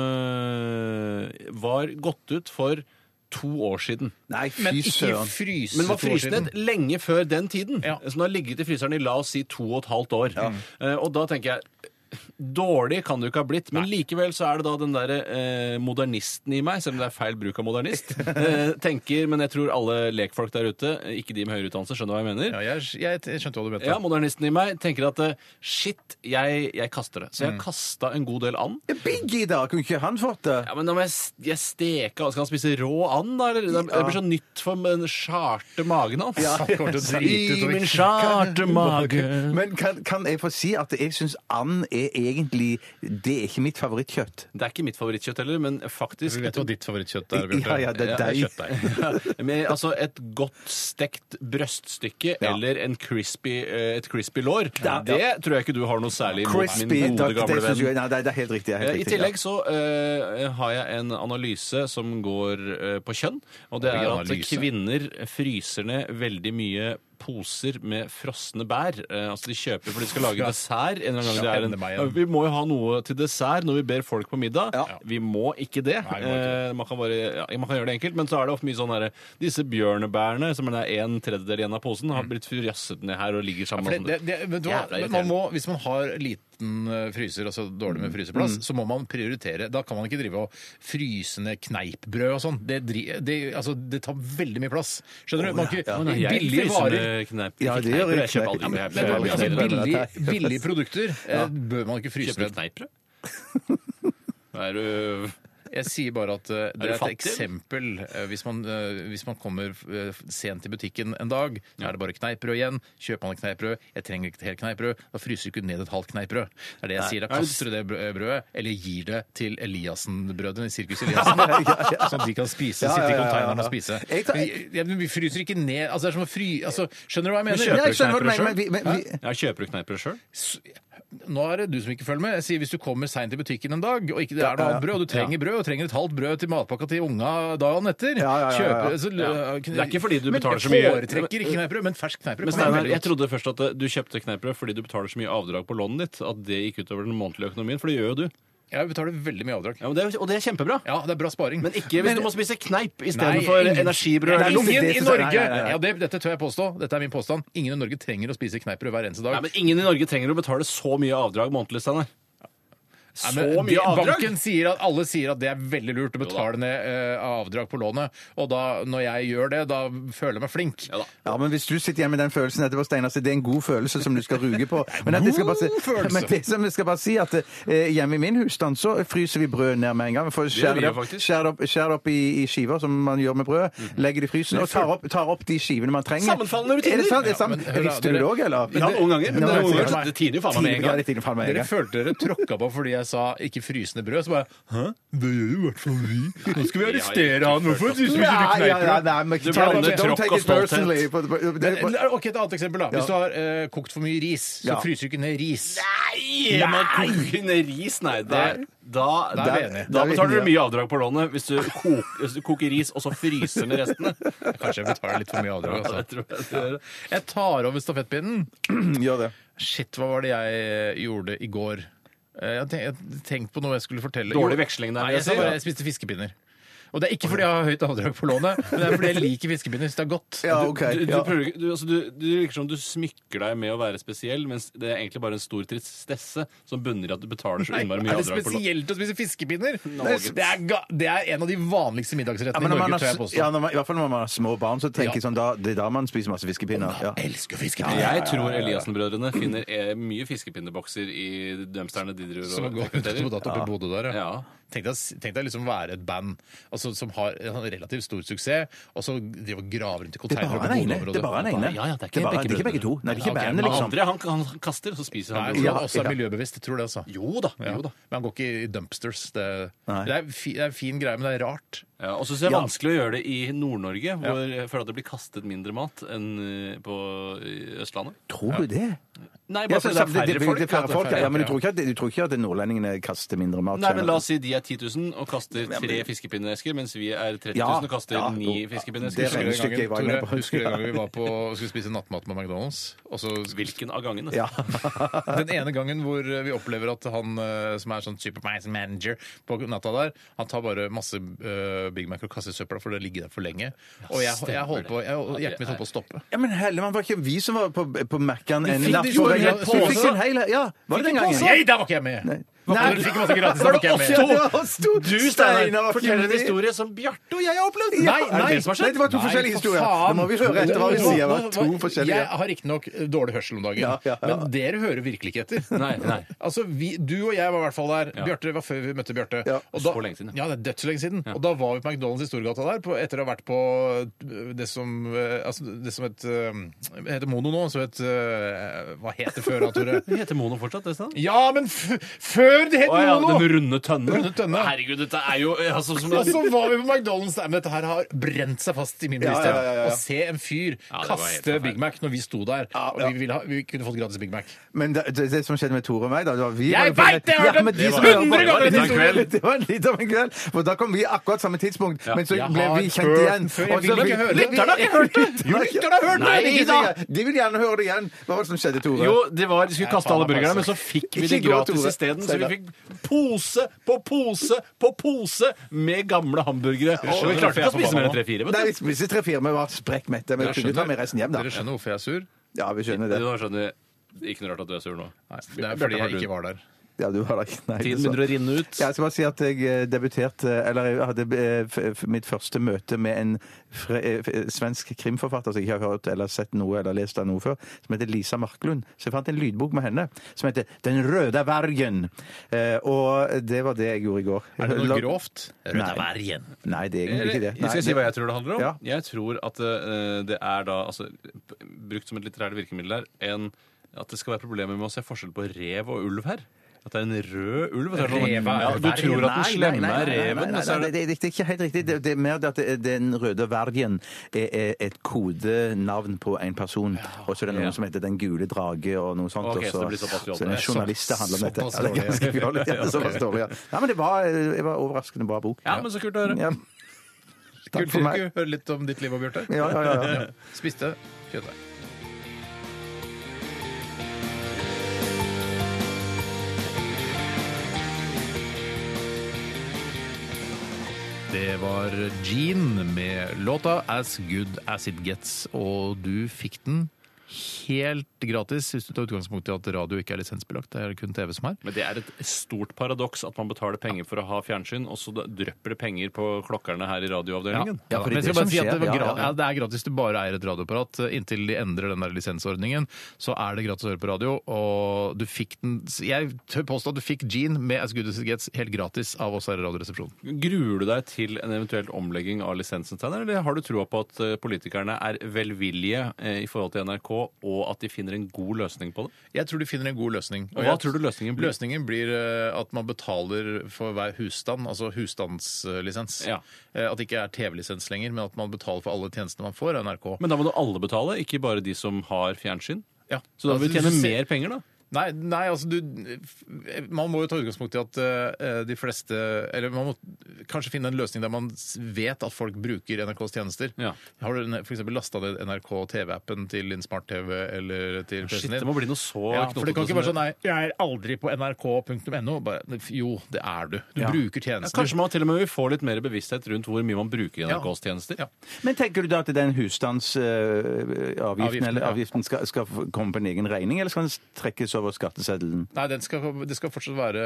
eh, var gått ut for to år siden. Nei, Men fy ikke søren. fryse Men var to år fryst ned siden. lenge før den tiden. Ja. Så den har ligget i fryseren i la oss si to og et halvt år. Eh, og da tenker jeg Dårlig kan det jo ikke ha blitt, men likevel så er det da den derre eh, modernisten i meg, selv om det er feil bruk av modernist, eh, tenker Men jeg tror alle lekfolk der ute, ikke de med høyere utdannelse, skjønner hva jeg mener. Ja, jeg, jeg skjønte hva du mente. Ja, modernisten i meg tenker at eh, shit, jeg, jeg kaster det. Så jeg kasta en god del and. Biggie, da! Kunne ikke han fått det? Ja, men da må jeg, s- jeg steke Skal han spise rå and, da? Eller? Det- Det blir så nytt for den skjærte magen hans. Han kommer til å drite I ut min over skjærte mage. Men kan, kan jeg få si at jeg syns and er egentlig Det er ikke mitt favorittkjøtt. Det er ikke mitt favorittkjøtt heller, men faktisk Vi vet hva ditt favorittkjøtt er, Ja, ja, det er deg. kjøttdeig. Ja, men altså et godt stekt brøststykke Ja. eller en crispy, eh, et crispy lår, det tror jeg ikke du har noe særlig imot, Crispy. min da- gode, gamle det synes venn. jeg- Nei, det er helt riktig. det er Ja, Helt I riktig ja. tillegg så eh, har jeg en analyse som går eh, på kjønn. Og det Oi, er at analyse. kvinner fryser ned veldig mye poser med frosne bær. Eh, altså de kjøper for de skal lage Ja. dessert. En eller annen gang Ja, det er en, ender meg Ja, igjen. vi må jo ha noe til dessert når vi ber folk på middag. Ja. Vi må ikke det. Nei, vi må ikke Eh, man, kan bare, ja, man kan gjøre det enkelt, men så er det ofte mye sånn herre Disse bjørnebærene, som er en tredjedel igjen av posen, har blitt fjasset ned her og ligger sammen. For det, det, det, vet du hva? Jævla irriterende. Mm. man må, hvis man har liten eh, fryser, altså dårlig med fryseplass, så må man prioritere. Da kan man ikke drive og fryse ned kneippbrød og sånn. Det, dri- det, altså, det tar veldig mye plass. Skjønner du? Man kan, Å, nei, ikke- jeg billige fryser varer med kneip. Ja, Ikke det gjør kneiper, jeg jeg kjøper ikke. aldri Ja, kneiper. men- Men, Jeg altså, kjøper billig- aldri billige, det er- billige produkter eh, bør man ikke fryse ned. kneippbrød? Er du Jeg sier bare at eh, det du er et fattig? eksempel. eh, Hvis man, eh, hvis man kommer eh, sent i butikken en dag, så er det bare kneippbrød igjen. Kjøper man et kneippbrød, jeg trenger ikke et helt kneippbrød, da fryser du ikke ned et halvt kneippbrød. Det er det jeg sier. Da kaster du det brø- brødet, eller gir det til Eliassen-brødrene i Sirkus Eliassen, sånn at de kan spise, Ja, ja, sitte i ja, ja, konteineren og ja. spise. Jeg tar- Men, ja, men vi fryser ikke ned altså, det er som å fry, altså, Skjønner du hva jeg mener? kjøper Ja, jeg skjønner hva du kneiper mener, men vi- men vi- Jeg kjøper du kneippbrød sjøl? Nå er det du som ikke følger med. Jeg sier Hvis du kommer seint i butikken en dag, og ikke det er noe annet brød, og du trenger brød, og trenger et halvt brød til matpakka til unga dagen etter Ja, ja, ja, ja, ja. kjøper- så, Ja. kn- Det er ikke fordi du Men betaler jeg så mye. foretrekker ikke kneippbrød, men fersk kneippbrød. Men kan være Steinar, veldig jeg godt. trodde først at eh, du kjøpte kneippbrød fordi du betaler så mye avdrag på lånet ditt at det gikk utover den månedlige økonomien, for det gjør jo du. Jeg betaler veldig mye avdrag. Ja, men det er, og det er kjempebra. Ja, det er bra sparing. Men ikke hvis du må spise kneip Nei, istedenfor ingen- energibrød Nei, eller det- Ingen det- i det- Norge! nei, nei, nei. Ja, det, dette tør jeg påstå. Dette er min påstand. Ingen i Norge trenger å spise kneippbrød hver eneste dag. Nei, men Ingen i Norge trenger å betale så mye avdrag månedlig, Steinar. Nei, Så men de- mye avdrag! Banken sier at, alle sier at det er veldig lurt å betale ned eh, avdrag på lånet. Og da, når jeg gjør det, da føler jeg meg flink. Ja da. Ja, men Hvis du sitter igjen med den følelsen etterpå, Steinar, så det er en god følelse som du skal ruge på. Men at jeg skal bare si, God følelse! Men det som jeg skal bare si at eh, hjemme i min husstand så fryser vi brød ned med en gang. Vi får skjære vi det jo opp, faktisk. Mhm. skjære det opp, skjære det opp i, i skiver, som man gjør med brød. Legger det i frysen og tar opp, tar opp de skivene man trenger. Sammenfallende Er rutiner! det sant? Er det Ja, men sant? hør da, Visste du dere- det òg, eller? Ja, noen ganger. Men det, er Noen noen ganger. ganger, det tiner jo faen meg med en Tidligere, gang. tidligere, faen meg en Dere gang. følte dere tråkka på fordi jeg sa 'ikke frysende brød'. Så bare Hæ? Det gjør i hvert fall vi. Nå skal vi arrestere han. Hvorfor spiser vi ikke Nei, ja, ja, kneippbrød? nei, men Du ta- blander don't tråkk take og it personally. Men, eller, ok, Et annet eksempel. da Hvis du har eh, kokt for mye ris, så Ja. fryser du ikke ned ris. Nei! Man koker ned ris, nei. Der, da, Da er vi enige. da Da er vi betaler enige. du mye avdrag på lånet hvis du, koker, hvis du koker ris, og så fryser ned restene. Kanskje jeg betaler litt for mye avdrag. Ja, Altså. det tror jeg du gjør. Jeg tar over stafettpinnen. Gjør det. Shit, hva var det jeg gjorde i går? Eh, Jeg ten- jeg tenkte på noe jeg skulle fortelle. Dårlig Jo, veksling der. Nei, vil jeg, jeg si. sa bare, jeg spiste fiskepinner. Og det er ikke fordi jeg har høyt avdrag på lånet, men det er fordi jeg liker fiskepinner. Så det er godt. Ja, OK. Du, du, Ja. prøver, ikke- du, altså, du, du virker som du smykker deg med å være spesiell, mens det er egentlig bare en stor tristesse som bunner i at du betaler så innmari mye er det avdrag på lån. spesielt å spise fiskepinner? Norge. Det er, ga- det er en av de vanligste Ja, middagsrettene men i når man Norge, tror jeg har, påstår. ja, når man, I hvert fall når man har små barn, så tenker Ja. jeg sånn, da, det er da man spiser masse fiskepinner. Ja. Jeg elsker fiskepinner. Jeg tror Eliassen-brødrene finner eh, mye fiskepindebokser i dømsterne de Som å driver og gå rekrutterer. datt oppe i Bodø der, ja. Ja. Tenk deg, tenk deg liksom være et band altså, som har en sånn relativt stor suksess, og så driver og graver rundt i Det er containere bare på den ene. Bodø-området. Det er bare den Ja, ene. ja, det er ikke bare- begge det er ikke begge to. brødrene. Nei, det er ikke Ja, ok, bandet, men Den liksom. andre han, han, han kaster, og så spiser Nei, jeg han. tror brødrene. Ja, han også er ja. miljøbevisst. Jeg tror det, altså. Jo da. Ja. Jo da. Men han går ikke i dumpsters. Det, Nei. det, er, fi, det er en fin greie, men det er rart. Ja, og så synes jeg det er Ja. vanskelig å gjøre det i Nord-Norge, hvor jeg føler at det blir kastet mindre mat enn eh, på i Østlandet. Tror du det? Nei, Ja, bare så- fordi så- det er færre folk. det er færre folk, ja, færre, ja, men du ja. tror ikke at, du tror ikke at nordlendingene kaster mindre mat? Nei, men La oss si de er 10 000 og kaster tre fiskepinnesker, mens vi er 30 Ja, 000 og kaster ja, ni jo. fiskepinnesker. Det er Husker du regnestykket den jeg var gangen, med på. Tore, husker du den gangen vi var på, skulle spise nattmat med McDonald's? Og så Hvilken av altså? gangene? Ja. Den ene gangen hvor vi opplever at han eh, som er sånn supermarket manager på natta der, han tar bare masse eh, Big Mac og kaster i søpla for det ligger der for lenge. Og jeg, jeg holdt på, jeg, og hjertet mitt holdt på å stoppe. Ja, men Hellemann, var ikke vi som var på, på Mækkan en fikk- natt du på fikk vei en hjem? pose. Du fikk en hel Ja, var det den gangen? Nei, der var ikke jeg med! Hva- Nei. Dere fikk masse gratis, der var Var det ikke oss, jeg ja, med. det var oss to? Du, Steinar, Steinar, var forteller en ikke- historie som Bjarte og jeg har opplevd! Nei, Er nei. det det som har skjedd? Nei, det var to Nei, forskjellige for historier. faen. Da må vi høre etter hva vi sier. Det var to forskjellige. Jeg har riktignok dårlig hørsel om dagen, Ja, ja, ja. men dere hører virkelig ikke etter. Nei, nei. Altså, vi, Du og jeg var i hvert fall der. Ja. Bjarte var før vi møtte Bjarte. Ja. Og da- Så lenge siden, Ja, det er dødslenge siden. Og da var vi på McDonald's i Storgata der på, etter å ha vært på øh, det som, øh, altså, det som het, øh, heter Mono nå, så het øh, Hva het det før, da, Tore? Det heter Mono fortsatt, det stedet? Ja, men f før det het Å ja, Mono! den runde tønnen. Runde tønne. Herregud, dette er jo altså, som Og sånn. så var vi på McDonald's der, men dette her har brent seg fast i min Ja, bevissthet. ja, ja, ja, ja. Å se en fyr var helt kaste forferdelig. Big Mac når vi sto der, Ja, og ja. vi, ville ha, vi kunne fått gratis Big Mac. Men det, det, det som skjedde med Tore og meg da, det var vi Jeg var jo- vet det, jeg har hørt men de det! som Det var hører på- hundre ganger det den var litt historien. av en- Det var litt av en kveld. For da kom vi akkurat samme tidspunkt, men så Jeg ble har vi kjent hørt igjen. den før. Jeg Og vil så vi- ikke høre den. Lytterne har ikke hørt det! Jo, lytterne har hørt det. Nei, Ikke da. De vil gjerne høre det igjen. Hva var det som skjedde, Tore? Jo, det var, de skulle Nei, kaste faen, alle det er burgerne, men faktisk- så fikk vi altså. Ikke de gå, gratis Tore. isteden. Steinar. Så vi fikk pose på pose på pose med gamle hamburgere. Og vi skjønner hvorfor jeg klarte er ikke å spise forbanna mer nå. enn tre-fire. Nei, liksom- vi spiste tre-fire, men var sprekk mette. Men vi kunne ta med resten hjem, da. Dere skjønner hvorfor jeg er sur? Ja, vi skjønner det. Nå skjønner jeg. Ikke noe rart at du er sur nå. Det er fordi jeg ikke var der. Ja, du har da ikke nei, Tiden det er begynner å sant. rinne ut. Ja, Jeg skal bare si at jeg eh, debuterte Eller jeg hadde eh, f- f- mitt første møte med en fre, eh, f- svensk krimforfatter som jeg ikke har hørt eller sett noe eller lest av noe før, som heter Lisa Marklund. Så jeg fant en lydbok med henne som heter 'Den røde vergen'. Eh, Og det var det jeg gjorde i går. Er det La- noe grovt? Nei. Nei, det er egentlig ikke det. Jeg skal si hva jeg tror det handler om. Ja. Jeg tror at eh, det er da altså, p- brukt som et litterært virkemiddel her, en, at det skal være problemer med å se forskjell på rev og ulv her. At det er en rød ulv. at det er sånn- Rev er- ja, du tror at den slemme er reven, men så er det, det det, det er ikke helt riktig. Det, det er mer det at det, Den røde vergen er, er et kodenavn på en person. Og så er det noen Ja. som heter Den gule drage og noe sånt. Ok, og så det blir såpass så, fjollet. er det journalister handler om dette. Såpass Ja, det er ganske fjollet, ja. Det er såpass dårlig. Ja. Nei, men det var, det var overraskende bra bok. Ja, men så kult å høre. Ja. Kult for meg. ikke høre litt om ditt liv og Bjarte. Ja, ja, ja, ja. Spiste kjøttdeig. Det var Gene med låta 'As Good As It Gets', og du fikk den helt gratis hvis du tar utgangspunkt i at radio ikke er lisensbelagt. Det er kun TV som er. Men det er et stort paradoks at man betaler penger for å ha fjernsyn, og så da drypper det penger på klokkerne her i radioavdelingen. Ja, fordi men jeg det skal bare som si at det, skjer, var ja, gra ja, ja. ja, det er gratis. Du bare eier et radioapparat. Inntil de endrer den der lisensordningen, så er det gratis å høre på radio. Og du fikk den Jeg tør påstå at du fikk Gene med As Good As It Gets helt gratis av oss her i Radioresepsjonen. Gruer du deg til en eventuell omlegging av lisensen, Steinar, eller har du troa på at eh, politikerne er velvillige eh, i forhold til NRK, og at de finner en god løsning på det? Jeg tror de finner en god løsning. Og hva jeg- tror du løsningen blir? Løsningen blir eh, at man betaler for hver husstand, altså husstandslisens. Ja. Eh, At det ikke er TV-lisens lenger, men at man betaler for alle tjenestene man får av NRK. Men da må jo alle betale, ikke bare de som har fjernsyn. Ja. Så da vil vi Altså, du tjene ser- mer penger, da. Nei, nei, altså du Man må jo ta utgangspunkt i at eh, de fleste Eller man må kanskje finne en løsning der man s- vet at folk bruker NRKs tjenester. Ja. Har du f.eks. lasta ned NRK TV-appen til din smart-TV eller til Shit, PC-en din? det må bli noe så ja, for det kan ikke knotete være som sånn nei, jeg er aldri på nrk.no. Bare, Jo, det er du. Du bruker Ja, tjenesten. kanskje man til og med vil få litt mer bevissthet rundt hvor mye man bruker NRKs tjenester. Ja. Men tenker du da at den husstandsavgiften Avgiften, eller ja. avgiften skal, skal komme på en egen regning, eller skal den trekkes over skatteseddelen? Nei, den skal, det skal fortsatt være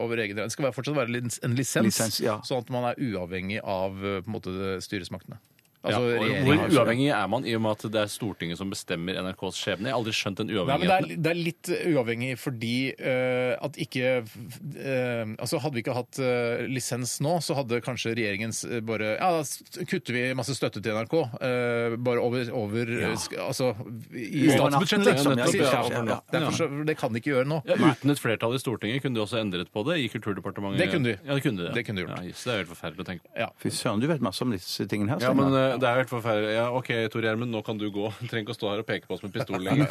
over egen Den skal være- fortsatt være lins- en lisens, Lisens, ja. sånn at man er uavhengig av eh, på en måte, styresmaktene. Ja, Altså, og regjeringen har hvor jo- uavhengig er man i og med at det er Stortinget som bestemmer NRKs skjebne? Jeg har aldri skjønt den Nei, men det er, uavhengigheten. det er litt uavhengig fordi eh, at ikke eh, Altså Hadde vi ikke hatt eh, lisens nå, så hadde kanskje regjeringens eh, bare Ja, da s- kutter vi masse støtte til NRK. eh, bare over, over eh, sk- Altså i Over natten, statsbudsjettet. liksom, ja, Nettopp, ja, ja, over over natten, natten, Derfor så- Det kan de ikke gjøre nå. Ja, uten et flertall i Stortinget kunne de også endret på det i Kulturdepartementet. Det kunne de. Ja, det kunne de. Det kunne de gjort. Ja, jøss, det er helt forferdelig å tenke på. Ja. Fy søren, du vet masse om disse tingene her. Ja, Steinar. men eh, det er jo helt forferdelig. Ja, OK, Tor Gjermund, nå kan du gå. Du trenger ikke å stå her og peke på oss med pistol lenger.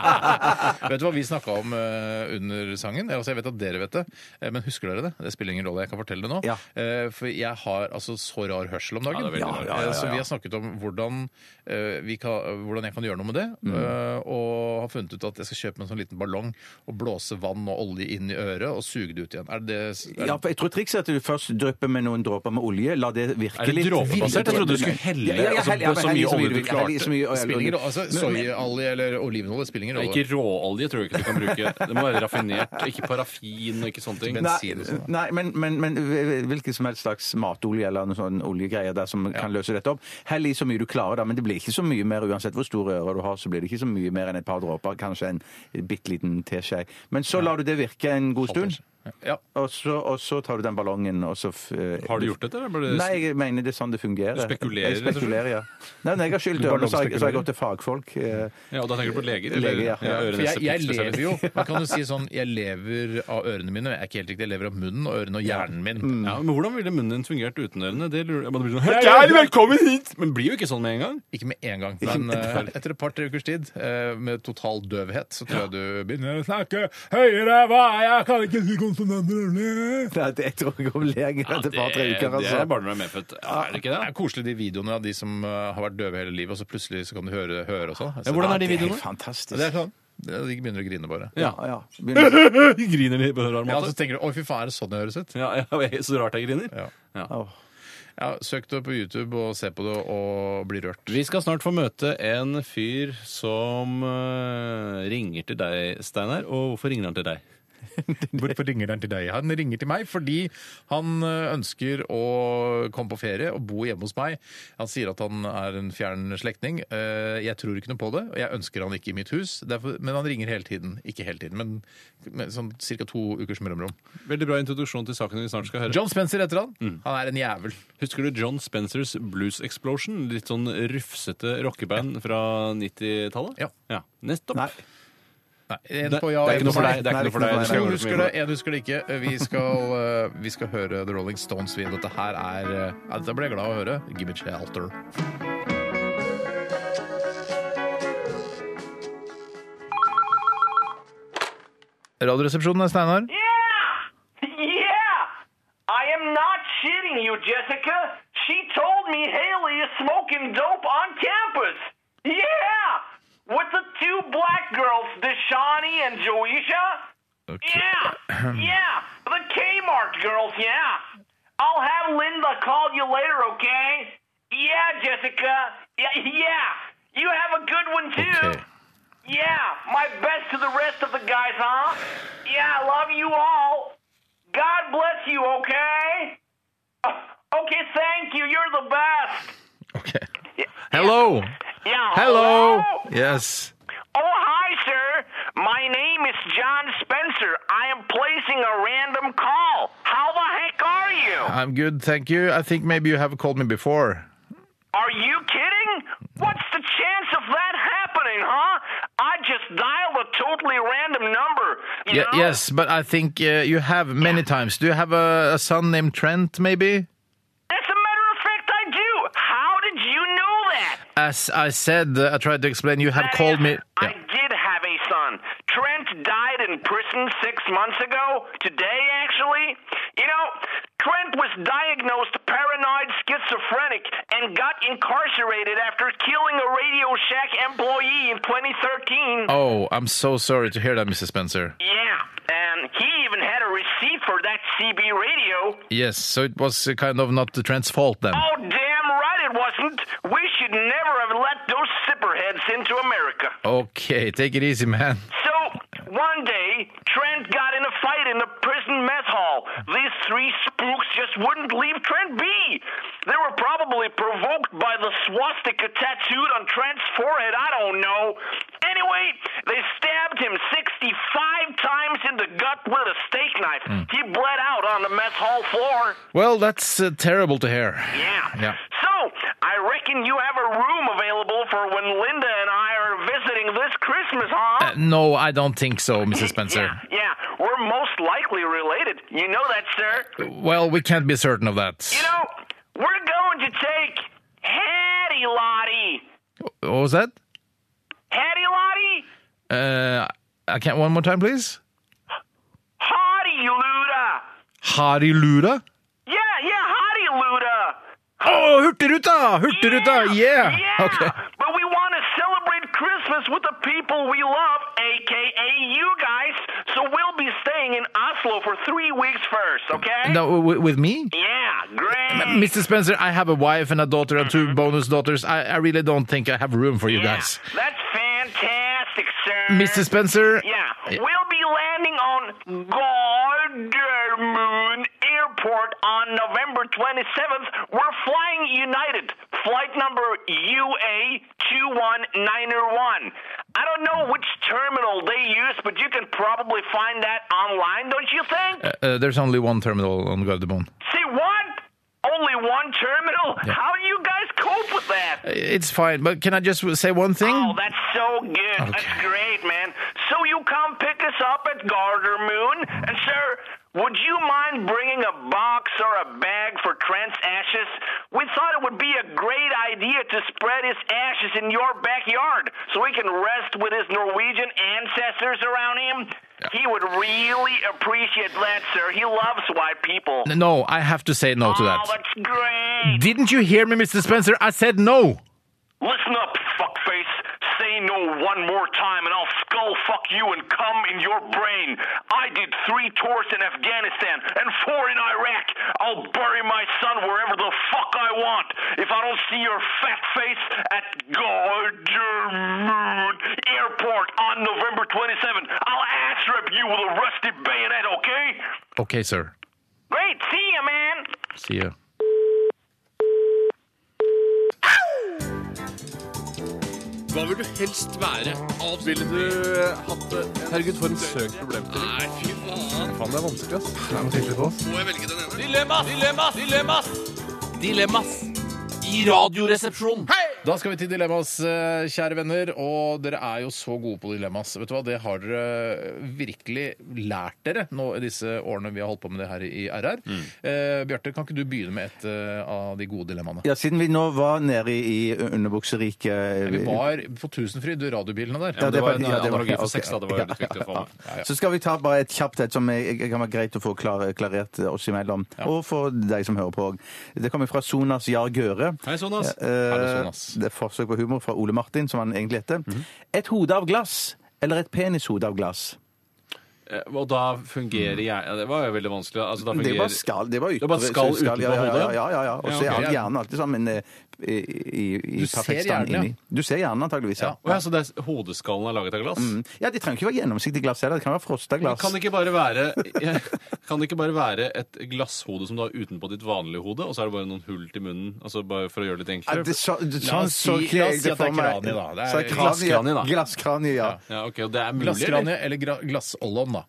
Vet du hva vi snakka om eh, under sangen? Eh, Altså, jeg vet at dere vet det, eh, men husker dere det? Det spiller ingen rolle, jeg kan fortelle det nå. Ja. Eh, for jeg har altså så rar hørsel om dagen. Ja, det er veldig rart. Eh, Så vi har snakket om hvordan, eh, vi kan, hvordan jeg kan gjøre noe med det. Mm. eh, og har funnet ut at jeg skal kjøpe meg en sånn liten ballong og blåse vann og olje inn i øret og suge det ut igjen. Er det er, Ja, for jeg tror trikset er at du først drypper med noen dråper med olje. La det virke Er det litt. dråpebasert? Jeg trodde du skulle helle, Ja, ja, ja, altså, helle, ja, så helle mye så mye olje du du vil. Helle i så mye olje. Spiller ingen rolle. Altså, Men- men- Soyaolje eller olivenolje spiller ingen Ja, rolle. eh, Ikke råolje tror jeg ikke du kan bruke. Det må være raffinert. Ikke parafin og ikke sånne ting. Bensin. si det sånn, Nei, men, men, men hvilken som helst slags matolje eller noen sånn oljegreier der som kan løse dette opp. Hell i så mye du klarer, da, men det blir ikke så mye mer uansett hvor store ører du har. så blir det ikke så mye mer enn et par dråper, kanskje en bitte liten teskje. Men så lar du det virke en god stund, Ja. og så, og så tar du den ballongen og så f- eh, Har du gjort dette? Eller? bare- Nei, jeg mener det er sånn det fungerer. Du spekulerer, Jeg spekulerer, ja. Nei, når jeg har skylt Du ørene, så har jeg- så ballongspekulerer. har jeg gått til fagfolk. eh, Ja, og da tenker du på leger? Leger, ja. Ja, øre- For jeg, jeg nesepikspesialist. lever jo Man kan jo si sånn Jeg lever av ørene mine. men Jeg er ikke helt riktig, jeg lever av munnen og ørene og hjernen min. Ja, men Hvordan ville munnen din fungert uten ørene? Det lurer jeg. Man blir sånn, «Hei, hei, velkommen hit! Men blir jo ikke sånn med en gang. Ikke med en gang, men eh, etter et par-tre ukers tid eh, med total døvhet, så tror jeg du begynner å snakke høyere. Hva er jeg? Kan ikke si konsonanter. Nei, det jeg tror jeg om leger etter et par-tre uker. det er Altså. bare når du er medfødt. Ja, er det Det ikke det? er koselig de videoene av de som eh, har vært døve hele livet, og så plutselig så kan du høre, høre og sånn. Ja, hvordan er de Det er videoene? helt fantastisk. Det er sånn. De begynner å grine bare. Ja. Ja, ja. Begynner- De griner litt på en rar Ja, så måte. tenker du 'Å, fy faen, er det sånn det høres ut?' Ja, ja, så rart jeg griner. Ja. Åh. Ja, Søk det på YouTube og se på det og bli rørt. Vi skal snart få møte en fyr som eh, ringer til deg, Steinar. Og hvorfor ringer han til deg? Hvorfor ringer han til deg? Han ringer til meg fordi han ø, ønsker å komme på ferie og bo hjemme hos meg. Han sier at han er en fjern slektning. Eh, Jeg tror ikke noe på det, og jeg ønsker han ikke i mitt hus. Derfor, men han ringer hele tiden. Ikke hele tiden, men, men sånn ca. to ukers mellomrom. Veldig bra introduksjon til saken vi snart skal høre. John Spencer heter han. Mm. Han er en jævel. Husker du John Spencers Blues Explosion? Litt sånn rufsete rockeband fra 90-tallet? Ja. Nettopp. Nei. Nei, en Det, på det ja, er en ikke noe på for nei. deg. Det er Nei, ikke noe for det er deg. ikke noe for meg. Det To skal jeg gjøre så mye husker med. det, én husker det ikke. Vi skal, ø, eh, vi skal høre The Rolling Stones. Vi. Dette her er ø, ja, Dette ble jeg glad av å høre. Give it shelter. Radioresepsjonen er Steinar. Yeah! Yeah! I am not shitting you, Jessica. She told me Haley is smoking dope on campus. Yeah! With the two black girls, Deshani and Joisha. Yeah! Yeah! The Kmart girls, yeah! I'll have Linda call you later, okay? Yeah, Jessica. Yeah, yeah. You have a good one too. Okay. Yeah, my best to the rest of the guys, huh? Yeah, I love you all. God bless you, okay? Uh, Okay, thank you. You're the best. Okay. Hello. Yeah. Hello. Yes. Oh, hi, sir. My name is John Spencer. I am placing a random call. How the heck are you? I'm good, thank you. I think maybe you have called me before. Are you kidding? What's the chance of that happening, huh? I just dialed a totally random number. You Ye- know? yes, but I think uh, you have many times. Do you have a, a son named Trent, maybe? As a matter of fact, I do. How did you know that? As I said, uh, I tried to explain, you have That called is, me. I Yeah. did have a son. Trent died in prison six months ago. Today, actually. You know, Trent was diagnosed paranoid schizophrenic and got incarcerated after killing a Radio Shack employee in 2013. Oh, I'm so sorry to hear that, Mrs. Spencer. Yeah, and he even had a receipt for that CB radio. Yes, so it was uh, kind of not the Trent's fault then. Oh, damn right it wasn't. We should never have let those zipperheads into America. Okay, take it easy, man. So, one day, Trent got in a fight in the prison mess hall. These three spooks just wouldn't leave Trent be. They were probably provoked by the swastika tattooed on Trent's forehead. I don't know. Anyway, they stabbed him 65 times in the gut with a steak knife. Hmm. He bled out on the mess hall floor. Well, that's uh, terrible to hear. Yeah. Yeah. So, I reckon you have a room available for when Linda and I are visiting this Christmas, huh? Uh, no, I don't think so, Mrs. Spencer. Yeah, yeah, we're most likely related. You know that, sir. Well, we can't be certain of that. You know, we're going to take Hattie Lottie. What was that? Hattie Lottie? Uh, I can't. One more time, please. Hottie Luda. Hari Luda? Yeah, yeah, Hottie Luda. Oh, Hurtigruta! Hurtigruta! Yeah! yeah. Okay. But we want to celebrate Christmas with the people we love, aka you guys. So we'll be staying in Oslo for three weeks first, okay? No, with, with me? Yeah, great. Mr. Spencer, I have a wife and a daughter and two bonus daughters. I, I really don't think I have room for you Mm-hmm. Yeah, guys. That's fantastic, sir. Mr. Spencer, Yeah, we'll be landing on Gardermoon Airport on November 27th. We're flying United, flight number UA21901. I don't know which terminal they use, but you can probably find that online, don't you think? uh, there's only one terminal on Gardermoen. See, what? Only one terminal? How do you guys cope with that? It's fine, but can I just say one thing? Oh, that's so good. That's Okay. great, man. So you come pick us up at Garter Moon, and sir, would you mind bringing a box or a bag for Trent's ashes? We thought it would be a great idea to spread his ashes in your backyard so he can rest with his Norwegian ancestors around him. He would really appreciate that, sir. He loves white people. No, I have to say no to Oh, that. that's great. Didn't you hear me, Mr. Spencer? I said no! Listen up, fuckface. Say no one more time and I'll skull fuck you and cum in your brain. I did three tours in Afghanistan and four in Iraq. I'll bury my son wherever the fuck I want if I don't see your fat face at Gardermoon Airport on November 27th. I'll ass rip you with a rusty bayonet, okay? Okay, sir. Great, see ya, man. See you. Hva vil du helst være? Ville du eh, hatt det? Herregud, for en søk problemstilling. Nei, fy faen. Faen, det er vanskelig, ass. Må jeg velge den ene? Dilemmas! Dilemmas! Dilemmas! Dilemmas! I radioresepsjonen. Da skal vi til dilemmas, eh, kjære venner. Og dere er jo så gode på dilemmas. Vet du hva, Det har dere virkelig lært dere nå i disse årene vi har holdt på med det her i RR. Mm. Eh, Bjarte, kan ikke du begynne med et eh, av de gode dilemmaene? Ja, siden vi nå var nede i, i underbukseriket Vi var på Tusenfryd, radiobilene der. Eh, Ja, Det det var en var- ja, det var- analogi for ok, sex, da. Det var ja, veldig viktig å få med. Så skal vi ta bare et kjapt et som jeg, jeg kan være greit å få klar, klarert eh, oss imellom. Og for deg som hører på òg. Det kommer fra Sonas Jar Gøre. Hei, Sonas. Hallo, Mhm. Eh, Sonas. det er forsøk på humor fra Ole Martin, som han egentlig heter. Et hode av glass eller et penishode av glass? Eh, Og da fungerer jeg ja, Det var jo veldig vanskelig. Altså, da Det fungerer var skall. Det var, Det var skall ja, utenpå ja, ja, hodet? Ja, ja, ja. Og Ja, så ok. er all hjernen alltid sammen eh, i, i, i Du ser perfekt hjernen, stand ja. inni. Du ser hjernen antageligvis, ja. Å ja, så det er, hodeskallen er laget av glass? Ja, De trenger ikke være gjennomsiktig glass heller. Det kan være frosta Men glass. Kan det, ikke bare være, kan det ikke bare være et glasshode som du har utenpå ditt vanlige hode, og så er det bare noen hull til munnen? Altså bare For å gjøre det litt Ja, enklere? det, så, det, La sånn, oss så si- kler la oss jeg si det at det er for meg. kranie, da. Det er Så glasskranie, da. Glasskranie, ja. Ja, ok, og det er mulig, eller? Glasskranie eller gra glassollon, da.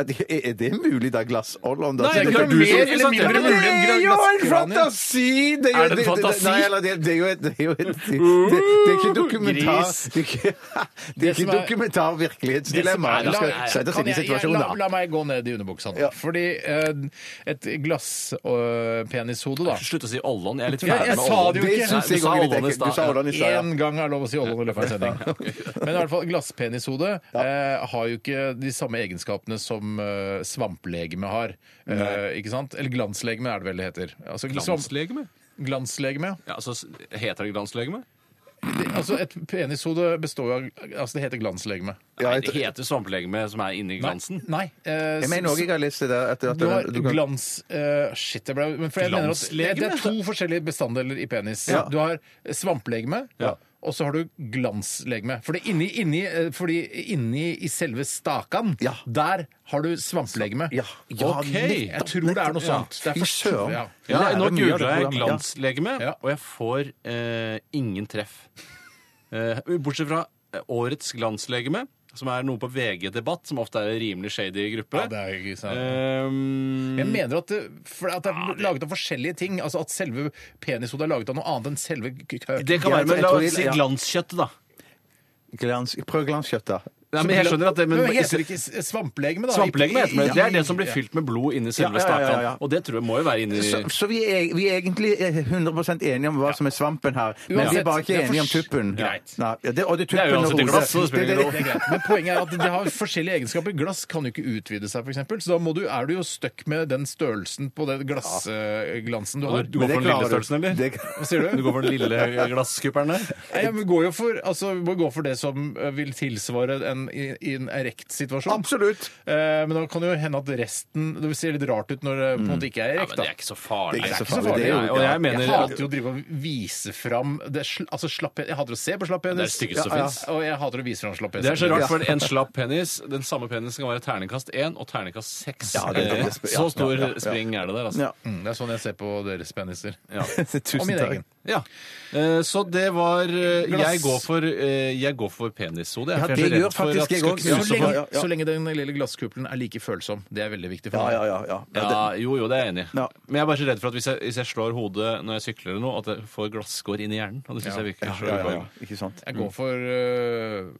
Ja, det- Er det mulig, da? Glassollon? da? Nei, Så det- det er du som mer eller mindre presenterer Men det. mulig. det er jo en fantasi! Det Er jo- det en fantasi? Nei, eller det, det er jo et Det er, jo et, det, det er ikke dokumentar... Gris. Det er ikke, det er som ikke er- dokumentar virkelighetsdilemma. Det som Du er- skal la- nei, sette kan seg inn i jeg- jeg- situasjonen, La, da. la meg gå ned i underbuksa nå. Ja. Fordi eh, et glasspenishode, da Slutt å si ollon. Jeg er litt Jeg- ferdig jeg med sa ollon. det jo ikke. Det syns Nei, jeg du sa også er litt Ollon i ekkelt. Du sa stad. Ollon i stad. ja. Én gang er lov å si ollon i løpet av en sending. Men i hvert fall glasspenishode eh, har jo ikke de samme egenskapene som eh, svamplegeme har. Eh, ikke sant? Eller glanslegeme er det vel det heter. Altså, svamp- Glanslegeme? glanslegeme, ja. Ja, altså, heter det glanslegeme? Det, altså, et penishode består jo av Altså, det heter glanslegeme. Ja, Nei, jeg- det heter svamplegeme som er inni glansen. Nei. eh, Jeg mener også jeg har lest det der at, at Du har du kan- glans... eh, shit, jeg ble men for jeg mener at det, Glanslegeme? det er to forskjellige bestanddeler i penis. Ja. Du har eh, svamplegeme. Ja. Og så har du glanslegeme. For det inni, inni, eh, fordi inni i selve stakan, Ja. der har du svamplegeme. Ja, ja, Ok. nettopp, Jeg tror det er noe nettopp. sånt. Det er Fy for- søren. ja. Ja, Lærer mye nå av det googla jeg programmet. Ja. glanslegeme, Ja. og jeg får eh, ingen treff. Eh, bortsett fra eh, årets glanslegeme, som er noe på VG-debatt, som ofte er en rimelig shady gruppe. Ja, det er jo ikke sant. Ehm, Jeg mener at det, for at det er laget av forskjellige ting. Altså At selve penishodet er laget av noe annet enn selve k- k- det kan jeg tror- være med jeg la tror oss si det- ja. glanskjøtt, da. Glans, prøv glanskjøtt, da. Nei, men jeg skjønner at det, men, Men heter det ikke s- svamplegeme, da? Svamplegeme heter det. I- i- Det er det som blir fylt med blod inni selve Ja, ja, ja, ja, ja. stakan. Og det tror jeg må jo være inni Så, så vi, er, vi er egentlig eh, 100 enige om hva som er svampen her, men vi Uansett, er bare ikke det er for- enige om tuppen. Greit. Nei, ja, det, og det, er Det er tuppen og uansett et hodet. glass, så det spiller Det- det- ingen Det er greit. Men poenget er at det har forskjellige egenskaper. Glass kan jo ikke utvide seg, f.eks. Så da må du, er du jo stuck med den størrelsen på den glassglansen du har. Du Men det går for den lille klarer du. størrelsen, eller? Det- Hva sier du? Du går for den lille glasskupperen der? Nei, Jeg går jo for, altså, vi må gå for det som eh, vil tilsvare en, i, i en erekt situasjon. Absolutt. Eh, men da kan det jo hende at resten Det ser litt rart ut når det på en måte ikke er Mm. Ja, erekt. men det da. er ikke så farlig. Det er ikke så Nei, farlig, det er jo- Nei, og jeg Jeg mener at hater jo å drive og vise fram det, er sl- altså, slapp, Jeg hater å se på slapp penis. det er det styggeste som Ja, ja. fins. Og jeg hater å vise fram slapp penis. Det er så rart, for en slapp penis Den samme penisen kan være terningkast 1 og terningkast 6. Ja, det er Eh, faktisk- ja, så stor ja, ja, ja. spring er det der, altså. Ja. Mm, det er sånn jeg ser på deres peniser. Og Tusen min takk. egen. Ja. Eh, Så det var eh, Glass. Jeg går for, eh, jeg går for penishode. Ja, det jeg, for jeg er så gjør redd for faktisk at det jeg skal også. knuse Så lenge, på- ja, ja. så lenge den lille glasskuppelen er like følsom. Det er veldig viktig for Ja, meg. ja, ja. ja. ja, det- Ja, jo, jo, det er jeg enig i. Ja. Men jeg er bare så redd for at hvis jeg, hvis jeg slår hodet når jeg sykler eller noe, at jeg får glasskår inn i hjernen. Og det syns jeg virker så ja, ja, ja. ubehagelig. Ikke sant. Jeg går for øh,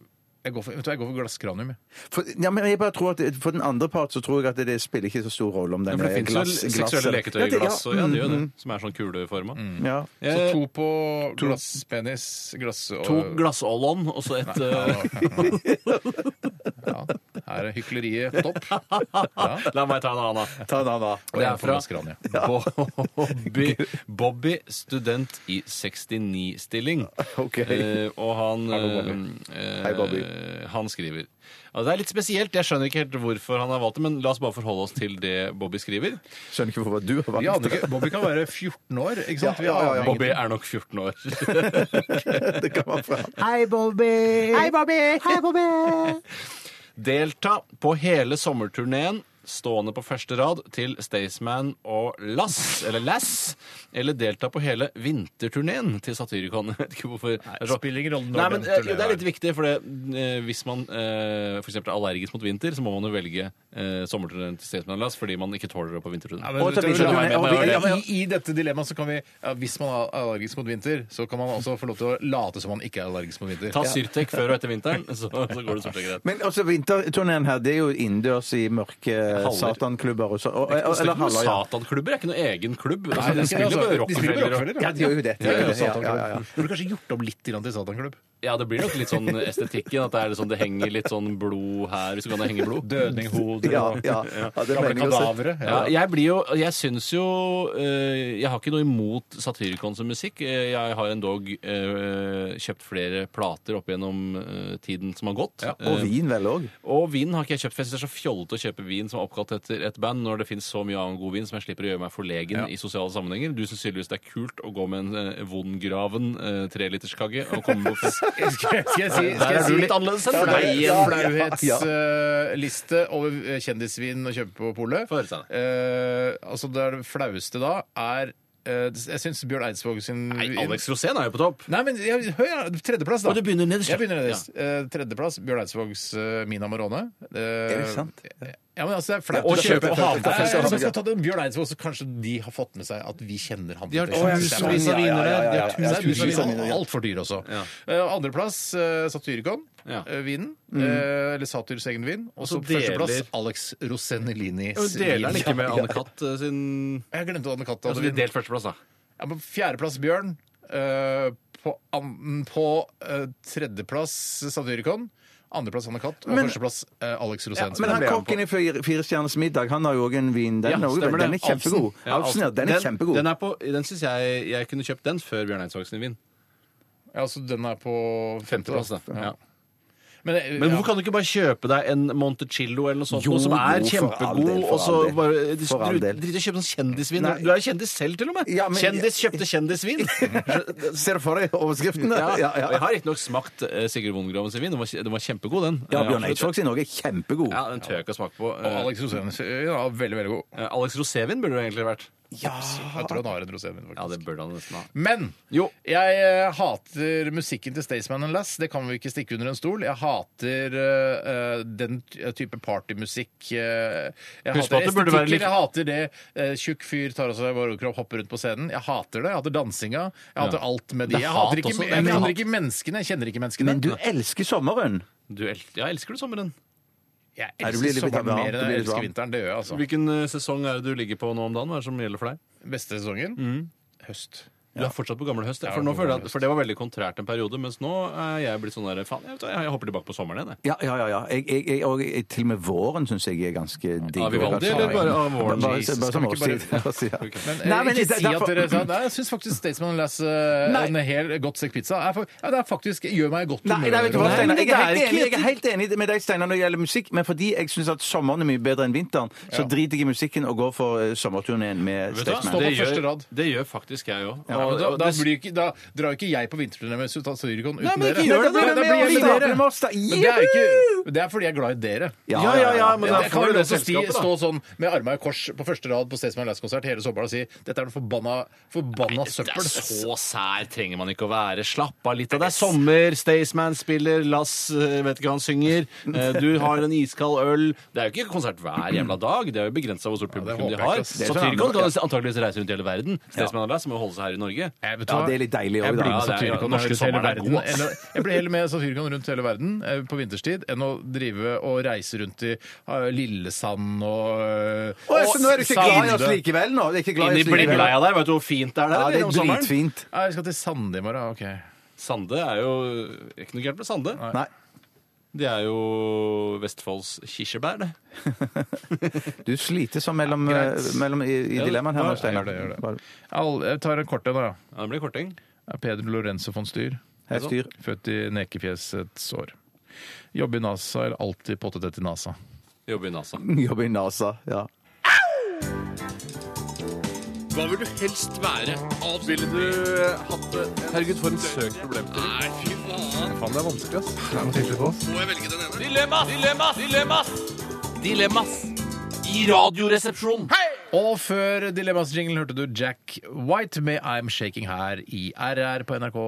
jeg går for, vet du, hva, jeg går for glasskranium. jeg. For, ja, men jeg bare tror at det- for den andre part så tror jeg at det spiller ikke så stor rolle om den Ja, for det er fins glass, jo glass seksuelle eller- leketøy Ja, i det- ja, glass, og ja, det gjør mm, det. Som er sånn kuleforma. Ja. Så Eh, to på glasspenis, glass og to glassollon og så et eh, Ja, her er hykleriet på topp. La meg ta en annen, da. Ta en annen. Og Det jeg er går for fra glasskranium. Bobby, Bobby, student i 69-stilling. Ok. Eh, og han eh, Hei, Bobby. eh, Han skriver ja, Det er litt spesielt, jeg skjønner ikke helt hvorfor han har valgt det, men la oss bare forholde oss til det Bobby skriver. Skjønner ikke hvorfor du har Vi aner valgt det. ikke, Bobby kan være 14 år, ikke sant? Vi Ja, ja, ja, aner Bobby ingenting. er nok 14 år. Det kan man fra. Delta på hele sommerturneen. Stående på første rad til Staysman og Lass, eller Lass. Eller delta på hele vinterturneen til Satyricon. Jeg vet ikke hvorfor. Det er så- spiller ingen rolle når Nei, men den eh, turneen Det er er. litt viktig, for det, eh, hvis man eh, for eksempel er allergisk mot vinter, så må man jo velge eh, sommerturneen til Staysman-lass fordi man ikke tåler det på vinterturneen. Ja, men- Og til vinterturneen, Ja, men det var men- det. ja, men I i dette dilemmaet så kan vi ja, Hvis man er allergisk mot vinter, så kan man også få lov til å late som man ikke er allergisk mot vinter. Ta Syrtec før og etter vinteren, så, så går det stort sett greit. Men også Altså, vinterturneen her, det er jo innendørs i mørke Haller. satanklubber og så og- Det er Eller ikke noen haller, ja. satanklubber, det er ikke noen egen klubb. Nei, Altså, det de er ikke det, spiller altså. jo De spiller på Rockefeller. og- Rockefeller, Ja, de gjør jo det. De gjør jo det. Ja, ja, ja. Burde kanskje gjort om litt grann til satanklubb. Ja, det blir nok litt sånn estetikken. At det, er litt sånn, det henger litt sånn blod her, hvis du kan det henge blod. Dødninghoder Ja, og ja. Ja, det gamle mener jeg også. kadavere. Ja, jeg blir jo Jeg syns jo eh, Jeg har ikke noe imot Satyricon som musikk. Eh, Jeg har endog eh, kjøpt flere plater opp gjennom eh, tiden som har gått. Og Eh, vin vel òg. og vin har ikke jeg kjøpt, for jeg synes det er så fjollete å kjøpe vin som er oppkalt etter et band, når det finnes så mye annen god vin som jeg slipper å gjøre meg forlegen i sosiale sammenhenger. Du syns tydeligvis det er kult å gå med en eh, Wongraven eh, treliterskagge og komme på fest. Skal jeg, skal jeg si, skal Der jeg er si du litt annerledes enn flauhetsliste meg. ja, igjen. Ja, flauhetsliste over eh, kjendisvin å kjøpe på polet. Få høre, Steinar. Eh, altså det, er det flaueste da er eh, Jeg syns Bjørn Eidsvåg sin Nei, Alex Rosén er jo på topp. Nei, men jeg, hør, ja, tredjeplass, da. Og du begynner nederst, ja. Jeg begynner nederst. Eh, tredjeplass Bjørn Eidsvågs eh, Mina Morone. er det sant? Ja, men altså, det er flaut Og å kjøpe kjøpe. og ha på Nei, fest. altså, Skal vi ta den Bjørn Eidsvåg, så kanskje de har fått med seg at vi kjenner han. De har Det er tusenvis sant. av viner der. De har Nei, tusenvis av Tusenvis viner. av viner. Altfor dyr også. Ja. Eh, Andreplass eh, Satyricon, Ja. Mm. eh, vinen. eh, Eller Satyrs egen vin. Og så Og så deler- førsteplass Alex Rosenellinis Ja, men Deler han ikke Ja, med ja. Anne Katt eh, sin Jeg glemte Anne Katt. Altså, hadde de vin. delt førsteplass, da. Ja, men Fjerdeplass Bjørn. eh, På, an, på eh, tredjeplass Satyricon. Andreplass Anne Katt. Og Men- førsteplass eh, Alex altså, Rosén. som Men er han med kokken i Fire Fire stjerners middag han har jo òg en vin. Den, Ja, er også- stemmer det. den er kjempegod. Ja, Alfsen, ja, den er kjempegod. Den, er på, den synes jeg jeg kunne kjøpt den før Bjørn Eidsvåg sin vin. på- Ja, så den er på Femteplass, da. Ja. Ja. Men, eh, Men ja. hvorfor kan du ikke bare kjøpe deg en Montecillo eller noe sånt, Jo, noe som er jo, for all kjempegod, del, for og så all del. bare du, For all del. Drit i å kjøpe sånn kjendisvin. Nei. Du er jo kjendis selv, til og med. Ja, men- kjendis kjøpte kjendisvin. Ser du for deg overskriftene? ja, Og jeg har ikke nok smakt eh, Sigurd Wongraven sin vin. Den var, den var kjempegod, den. Ja, Eh, Bjørn absolutt. Eidsvåg sin òg er kjempegod. Ja, den tør jeg ikke å smake på. Og Eh, Alex Rosén ja, veldig, veldig god. eh, Alex Rosévin burde det egentlig vært. Jeg tror han har en rosévin, faktisk. Ja, det burde han nesten ha. Men Jo. jeg eh, hater musikken til Staysman and Lass. Det kan vi ikke stikke under en stol. Jeg hater eh, eh, den ty- type partymusikk. eh, jeg Husk på hater at det burde være estetikker. Jeg litt- hater det eh, tjukk fyr tar av seg varokropp, hopper rundt på scenen. Jeg hater det. Jeg hater dansinga. Jeg hater alt med Det de. er Jeg hat hater ikke, også. Det er jeg mye kjenner hat. ikke menneskene. Jeg kjenner ikke menneskene. Men du elsker sommeren. Du el ja, elsker du sommeren? jeg Nei, du blir elsker litt sommeren varm. mer Du enn blir jeg litt elsker varm. vinteren. Det gjør jeg, altså. Hvilken eh, sesong er det du ligger på nå om dagen? Hva er det som gjelder for deg? Beste sesongen? Mm. Høst. Du er fortsatt på gamle høst. Jeg For, er nå på føler gamle jeg at, for det var veldig kontrært en periode, mens nå er jeg blitt sånn der Faen, jeg, vet hva, jeg, jeg hopper tilbake på sommeren igjen, jeg. Ja, ja, ja. ja. Jeg, jeg, jeg, og jeg, til og med våren syns jeg er ganske digg. Av Vivaldi Ja, ja. eller bare av Bare, våren? bare, Jesus, bare som kan vi ikke bare- årstid. Ja. Men Nei, eh, men ikke det- si at derfor- dere sa Nei, jeg syns faktisk Staysman Lass eh, en hel godt stekt pizza er, for, ja, det er faktisk, gjør meg i godt Nei, nei, vet du hva, Nei, Steinar? men Jeg er det helt ikke- enig, jeg er helt enig med deg Steinar, når det gjelder musikk, men fordi jeg syns at sommeren er mye bedre enn vinteren, så driter jeg i musikken og går for eh, sommerturneen med Vet du hva? Stå Staysman. på Det gjør- første rad. Det gjør faktisk jeg òg. Ja, men da, da, blir ikke, da drar jo ikke jeg på vinterturné med Satyricon uten Nei, men dere. ikke gjør det, Da blir- men- da blir jeg men- med dere. men- men- men- Men det er, ikke, det er fordi jeg er glad i dere. Ja, Ja, ja, ja, men Men da jeg får kan du vel det også si, selskapet, da. stå sånn med armene i kors på første rad på Staysman Lass-konsert hele sommeren og si dette er noe forbanna, forbanna Det er søppel. så sær trenger man ikke å være. Slapp av litt. av Det er sommer, Staysman spiller, Lass eh, vet ikke hva han synger, eh, du har en iskald øl Det er jo ikke konsert hver jævla dag. Det er jo begrensa hvor stort håper publikum de jeg ikke, har. ass. Det er sånn Satyricon andre- kan antakeligvis reise rundt i hele verden. Staysman og Lass må jo holde seg her i Norge. Jeg vet Ja, hva? det er litt Jeg deilig òg, blir da. med Ja, det er jo- Satyricon norske rundt hele sommeren er verden. god, ass. eller- Jeg blir heller med Satyricon rundt hele verden eh, på vinterstid enn å drive og reise rundt i eh, Lillesand og eh, Å, så nå er du ikke glad i oss Sande. likevel, nå? Det er ikke glad Inn i i oss likevel. blindleia der, vet du hvor fint det er der? Ja, det om er sommeren? dritfint. Ja, jeg skal til Sande i morgen. OK. Sande er jo ikke noe gærent med Sande. Nei. Det er jo Vestfolds kirsebær, det. Du sliter sånn mellom, Ja, greit. eh, mellom i, i Ja, dilemmaen her ja, nå, jeg gjør Steinar. det, gjør det. Bare- Al- Jeg tar en kort en, da. Ja, det blir korting. Det er Peder Lorenzo von Styr. Hei, styr. Født i nekefjesets år. Jobbe i NASA eller alltid pottetett i NASA? Jobbe i NASA. Jobber i NASA. Ja. Hva vil du helst være? Ville du eh, hatt det? Herregud, for en søk problemstilling. Nei, fy faen. Faen, det er vanskelig, ass. Det er noe tydelig på oss. Må jeg velge den ene? Dilemmas! Dilemmas! Dilemmas! Dilemmas! I radioresepsjonen! Og før Dilemmas-jinglen hørte du Jack White med I'm Shaking her i RR på NRK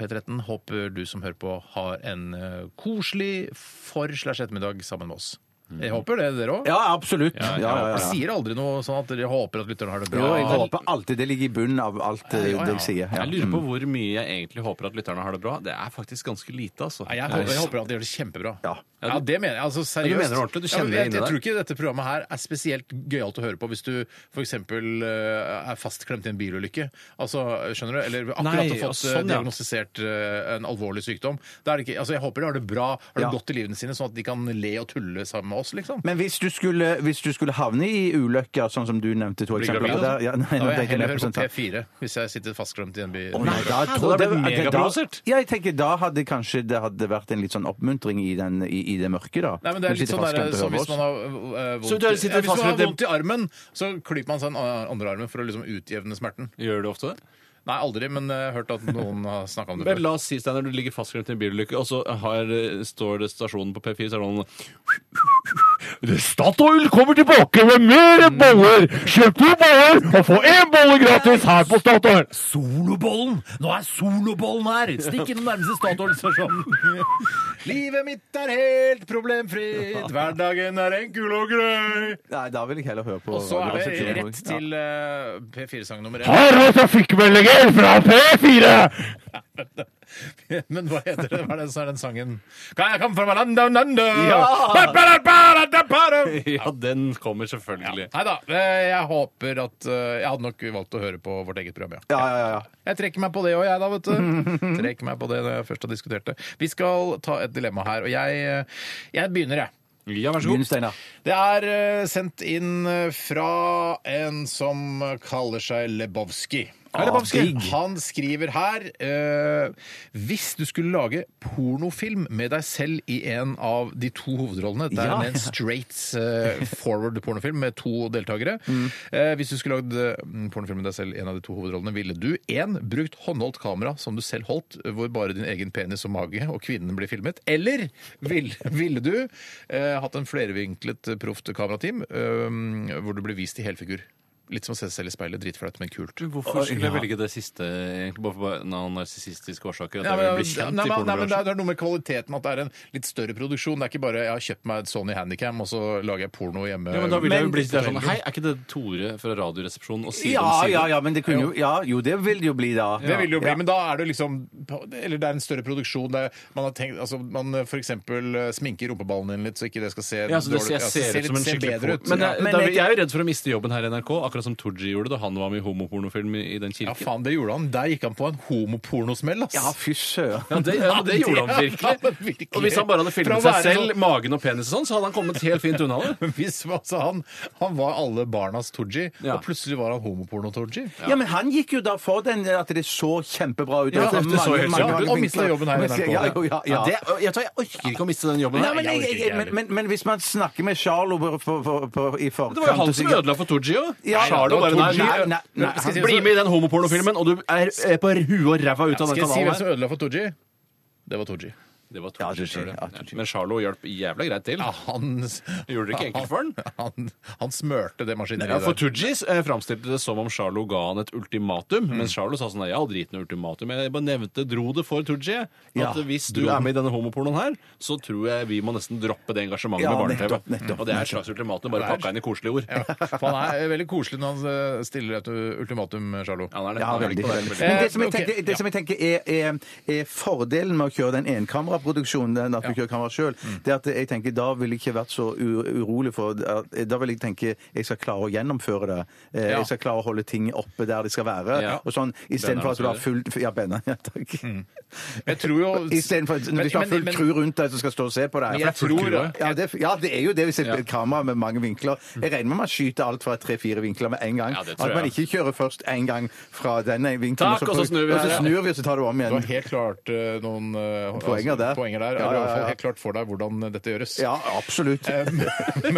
P13. Håper du som hører på har en eh, koselig for slash ettermiddag sammen med oss. Jeg håper det, dere òg. Mm. Ja, absolutt. Ja, ja, ja, Jeg ja. sier aldri noe sånn at dere håper at lytterne har det Jo, bra. jeg håper alltid det ligger i bunnen av alt eh, Ja, ja. det jeg sier. Ja. Jeg lurer på hvor mye jeg egentlig håper at lytterne har det bra. Det er faktisk ganske lite, altså. Nei, jeg, håper, jeg håper at de gjør det kjempebra. Ja. Ja, det mener jeg. altså Seriøst. Ja, du mener det ordentlig, du Ja, men kjenner jeg, det inni jeg deg. tror ikke dette programmet her er spesielt gøyalt å høre på hvis du f.eks. er fastklemt i en bilulykke. Altså, skjønner du? Eller akkurat Nei, har ja, fått eh, sånn, ja. diagnostisert eh, en alvorlig sykdom. Da er det ikke, altså, jeg håper de har det bra, har det Ja. godt i livene sine, sånn at de kan le og tulle sammen med oss, liksom. Men hvis du, skulle, hvis du skulle havne i ulykker, sånn som du nevnte to Blir eksempler gravid, der- ja, da nei, nå vil jeg tenker jeg heller høre på representant. P4 hvis jeg sitter fastklemt i en by. Nei, da Hæ, tror da ble jeg- det da- megaprovosert. Ja, jeg tenker da hadde kanskje det hadde vært en litt sånn oppmuntring i, den, i, i det mørke, da. Nei, men det er Når litt du sitter sånn der, fastklemt og som hører hvis på man oss. har eh, vondt, Så du sitter ja, hvis man fast med har det- vondt i armen, så klyper man seg den andre armen for å liksom utjevne smerten. Eh, Gjør du ofte det? Nei, aldri, men jeg har hørt at noen har snakka om det Vel, før. la oss si, Steiner, du ligger fastklemt i en bilulykke, og så har, eh, står det stasjonen på P4, så er det noen Statoil kommer tilbake med mer boller! Kjøp to boller og få én bolle gratis her på Statoil! Solobollen! Nå er solobollen her! Stikk innom nærmeste Statoil-stasjon. Livet mitt er helt problemfritt, hverdagen er enkel og grei. Nei, da vil jeg heller høre på Og så er det Radioresepsjonen. rett til eh, P4-sang nummer én. Her er trafikkmeldinger fra P4! Men hva heter det? Hva er den, så er den sangen? Kan jeg komme fra Malanda, Nanda? Ja! Ba-ba-da-ba-da-ba-da! Ja, den kommer selvfølgelig. Nei da, eh, jeg håper at eh, Jeg hadde nok valgt å høre på vårt eget program, ja. Ja, ja, ja, ja. Jeg trekker meg på det òg, jeg da, vet du. Trekker meg på det når jeg først har diskutert det. Vi skal ta et dilemma her, og jeg, eh, jeg begynner, jeg. Ja, vær så Begynn, god. Steinar. Det er eh, sendt inn eh, fra en som kaller seg Lebowski. Hei, Lebowski. Ah, digg. Han skriver her eh, Hvis du skulle lage pornofilm med deg selv i en av de to hovedrollene Det er Ja. en straight eh, forward pornofilm med to deltakere. Eh, hvis du skulle lagd eh, pornofilm med deg selv i en av de to hovedrollene, ville du en, brukt håndholdt kamera som du selv holdt, hvor bare din egen penis og mage og kvinnen blir filmet? Eller vil, ville du eh, hatt en flervinklet eh, proft kamerateam eh, hvor du blir vist i helfigur? Litt som å se seg selv i speilet. Dritflaut, men kult. Hvorfor skulle Ja. jeg velge det siste, egentlig? Bare for noen narsissistiske årsaker? At Ja, jeg men, vil bli kjent nei, men, nei, men det, i er, pornobransjen? det er noe med kvaliteten at det er en litt større produksjon. Det er ikke bare 'jeg har kjøpt meg et Sony Handycam, og så lager jeg porno hjemme'. Ja, men da vil jeg jo Men- bli det er sånn Hei, er ikke det Tore fra Radioresepsjonen og Side om Ja, Side? ja, ja, men det kunne jo Ja, jo, det vil det jo bli da. Det vil det jo bli, Ja. men da er det liksom Eller det er en større produksjon. Det er, man har tenkt, altså man f.eks. eh, sminker rumpeballen din litt, så ikke det skal se Ja, så det dårlig- ser, ja, ser ut som en ser skikkelig bedre por- ut. Men, ja. jeg- men da, jeg- jeg er jo redd for å miste jobben her i NRK, akkurat som Tooji gjorde da han var med i homopornofilm i, i den ja, kirken. faen, det gjorde han. Der gikk han på en homopornosmell, ass. Ja, fy søren. Ja, det, ja, men det gjorde han Ja, men virkelig. virkelig. Og hvis han bare hadde Fra å filmet seg være selv, sånn- magen og penis og sånn, så hadde han kommet helt fint unna det. Hvis, altså, han, han var alle barnas Tooji, Ja. og plutselig var han homoporno-Tooji. Ja, men han gikk jo da for den at det så kjempebra ut. Altså, at Ja, det at det så helt bra ut. Og mistet vinkler. jobben her i Og mistet- NRK. Ja, jo, ja, ja. Ja, det, jeg, tror jeg orker ikke å miste den jobben. Nei, her. men, jeg, jeg, men, men, men hvis man snakker med Charlo på, på, på, på, i forkant det var jo han og som sier- ødela for Tooji òg. Ja, Charlo ja, bare nei, Tooji- nei, nei, nei, skal jeg si Bli det så- med i den homopornofilmen, og du er eh, på huet og ræva ut av Skal den jeg si hvem kanalen. som ødela for Tooji? Det var Tooji. her. Det var Ja, Tooji Tooji, selv, ja, ja. Tooji. Men Charlo hjalp jævla greit til. Ja, han Gjorde det ikke enkelt for han? Han, han smørte det maskineriet Ja, for der. Tujis eh, framstilte det som om Charlo ga han et ultimatum, Mm. mens Charlo sa sånn, «Nei, jeg hadde gitt noe ultimatum, jeg bare nevnte, dro det for Tuji, at Ja, hvis du dro er med i denne homopornoen her, så tror jeg vi må nesten droppe det engasjementet Ja, med barne-TV. nettopp, nettopp, Og det er et slags ultimatum, bare Det er- pakka inn i koselige ord. For han er veldig koselig når han eh, stiller et ultimatum, Charlo. Han er det. Ja, Han er veldig. på det. Men det som jeg Ok, tenker, det ja. som jeg tenker er, er, er fordelen med å kjøre den enkameraproduksjonen, den at du kjører kamera sjøl, Mm. det er at jeg tenker da ville jeg ikke vært så u urolig for at- Da vil jeg tenke jeg skal klare å gjennomføre det. Eh, Ja. Jeg skal klare å holde ting oppe der de skal være. Ja. Mm. og sånn, Benner Istedenfor at du har også, full Ja, Benner. Ja, takk. Jeg tror jo Istedenfor at hvis du har Men- full men- crew rundt deg som skal stå og se på deg. Men jeg tror- ja, det, ja, det er jo det hvis det er et kamera med mange vinkler. Jeg regner med man skyter alt fra tre-fire vinkler med en gang. Ja, det tror at man jeg. ikke kjører først en gang fra den ene vinkelen, Takk, og så snur vi og så her, ja. snur vi, og så tar du om Du har igjen. helt klart eh, noen eh, Poenger der. poenger der Ja, Eller i ja, hvert ja. fall helt klart for deg hvordan dette gjøres. Ja, absolutt.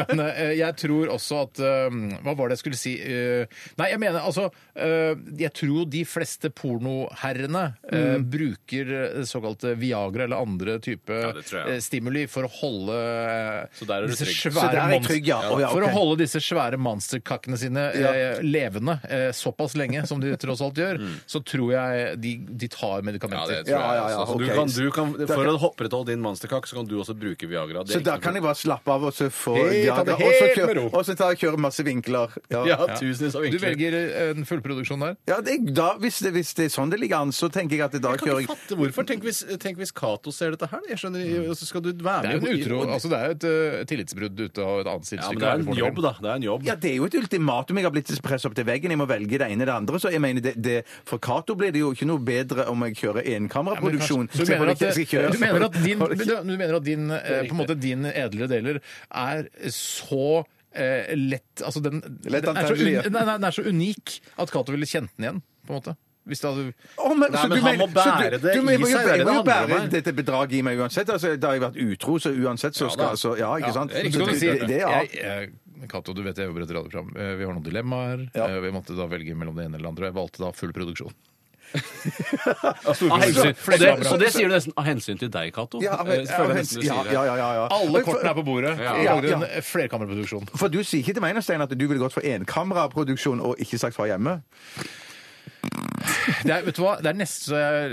Men eh, jeg tror også at eh, Hva var det jeg skulle si? Eh, nei, jeg mener altså eh, Jeg tror de fleste pornoherrene eh, Mm. bruker eh, såkalte Viagra eller andre type det tror jeg. eh, stimuli for å holde eh, Så der er du disse trygg. svære Så der er jeg monst- trygg, ja. Å, ja, For å ok. holde disse svære monsterkakkene sine eh, levende eh, såpass lenge som de tross alt gjør, så tror jeg de, de tar Mm. Ja, medikamenter. det tror jeg. Ja, ja, ja, altså. Så du ok. kan, du kan, for å opprettholde din monsterkakk, så kan du også bruke Viagra. Det er Så da ikke noe kan jeg bare slappe av og så få Helt- ta det Viagra. Og helt så med ro. kjøre, og så tar jeg kjøre masse vinkler. Ja. problem. Ja, tusenvis av Du vinkler. velger eh, en fullproduksjon der? Ja, det, da, hvis, det, hvis det er sånn det ligger an, så tenker jeg at da Jeg kan kjører ikke jeg fatte hvorfor. Tenk hvis, tenk hvis Cato ser dette her. Jeg skjønner, Mm. og så skal du Det være er med jo en i- utro, altså det er jo et eh, tillitsbrudd ute og et annet Ja, sidestykke. men det er her, en jobb, da. Det er en jobb. ja, Det er jo et ultimatum. Jeg har blitt presset opp til veggen. Jeg må velge det ene eller det andre. Så jeg mener, det, det, For Cato blir det jo ikke noe bedre om jeg kjører enkameraproduksjon. Du Så mener jeg får at, ikke- jeg skal kjøre- du mener at din, du mener at din, eh, på en måte, din edle deler er så eh, lett Altså den, Lett den, er så antagelig, ja. un, nei, nei, den er så unik at Cato ville kjent den igjen, på en måte. Hvis det hadde Å, men, Nei, så men du han mener- må så bære det du, i du, må jo- seg, det er Jeg det må jo det handler bære om her. dette bedraget i meg uansett. Altså, da har jeg vært utro, så uansett så skal da. altså, Ja, ikke sant? det er riktig. Så Så kan du si det, det, ja. Jeg- jeg- Cato, du vet jeg jobber i et radioprogram. Eh, Vi har noen dilemmaer. Ja. Eh, Vi måtte da velge mellom det ene eller det andre. Jeg valgte da full produksjon. Av hensyn. Flere Og det, kameraer. og det sier du nesten av hensyn til deg, Cato. Ja, Eh, men- føler jeg nesten du ja, sier det. ja, ja, ja, ja. Alle kortene er på bordet. Ja. Vi lagde en Ja, flerkammerproduksjon. For du sier ikke til meg nå, Stein, at du ville gått for enkameraproduksjon og ikke sagt fra hjemme? Det er, vet du hva? Det er, nesten, så jeg-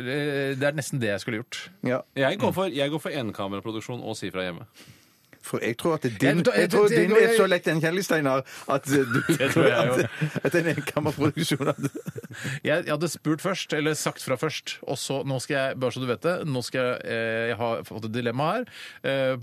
eh, det er nesten det jeg skulle gjort. Ja. Jeg går for, jeg går for enkameraproduksjon og si fra hjemme. For jeg tror at din, Ja, men da- jeg tror det- det din går- er så lett en kjendis, Steinar, at du Det tror jeg jo. at- At en enkammerproduksjon at- Jeg, jeg hadde spurt først, eller sagt fra først, og så nå skal jeg, bare så du vet det, nå skal jeg, eh, jeg har fått et dilemma her, eh,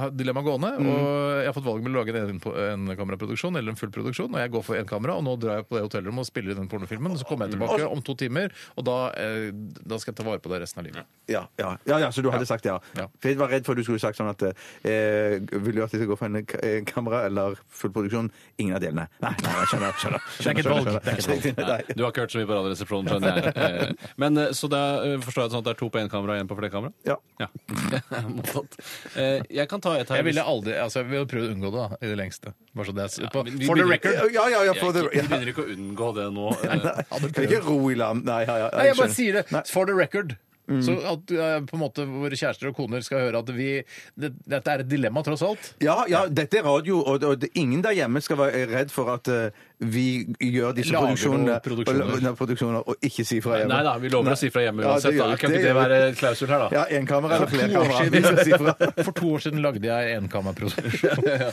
har et dilemma gående, Mm. og jeg har fått valget mellom å lage en, en kameraproduksjon eller en full produksjon, og jeg går for en kamera, og nå drar jeg på det hotellrommet og spiller i den pornofilmen, og så kommer jeg Mm. tilbake om to timer, og da, eh, da skal jeg ta vare på det resten av livet. ja, ja, ja, ja, så du hadde sagt ja. Ja. For jeg var redd for at du skulle sagt sånn at eh, Vil du at jeg skal gå for en ka- eh, kamera eller full produksjon? Ingen av delene. Nei, nei, nei skjønner. skjønner, er ikke skjønner, et valg. skjønner, Det er ikke et skjønner. Nei. Du har ikke hørt så mye på Radioresepsjonen, skjønner jeg. Eh, Men eh, så det er, eh, forstår jeg det sånn at det er to på én kamera og én på flere kamera? Ja. Ja. Mottatt. Eh, Jeg kan ta et her. Jeg ville aldri, altså jeg ville prøvd å unngå det da, i det lengste. Bare så det er, Ja, på, men vi for the begynner- record. Ja, ja, ja, for Jeg- det, Vi ja. begynner ikke å unngå det nå. eh. Kan ikke ro i land. Nei, ja, ja, Nei, jeg bare skjønner. sier det. Nei. For the record. Så at eh, på en måte våre kjærester og koner skal høre at vi det, Dette er et dilemma, tross alt. Ja, ja, dette er radio, og, og det, ingen der hjemme skal være redd for at eh, vi gjør disse Lager produksjonene, noen produksjoner. Og, la- produksjoner og ikke si fra hjemme. Nei da, vi lover å si fra hjemme Ja, det uansett. gjør da. vi. Det Kan ikke det gjør vi. være klausul her, da? Ja, enkamera eller For to år flerkamera. Vi skal si fra. siden, for to år siden lagde jeg enkammerproduksjon.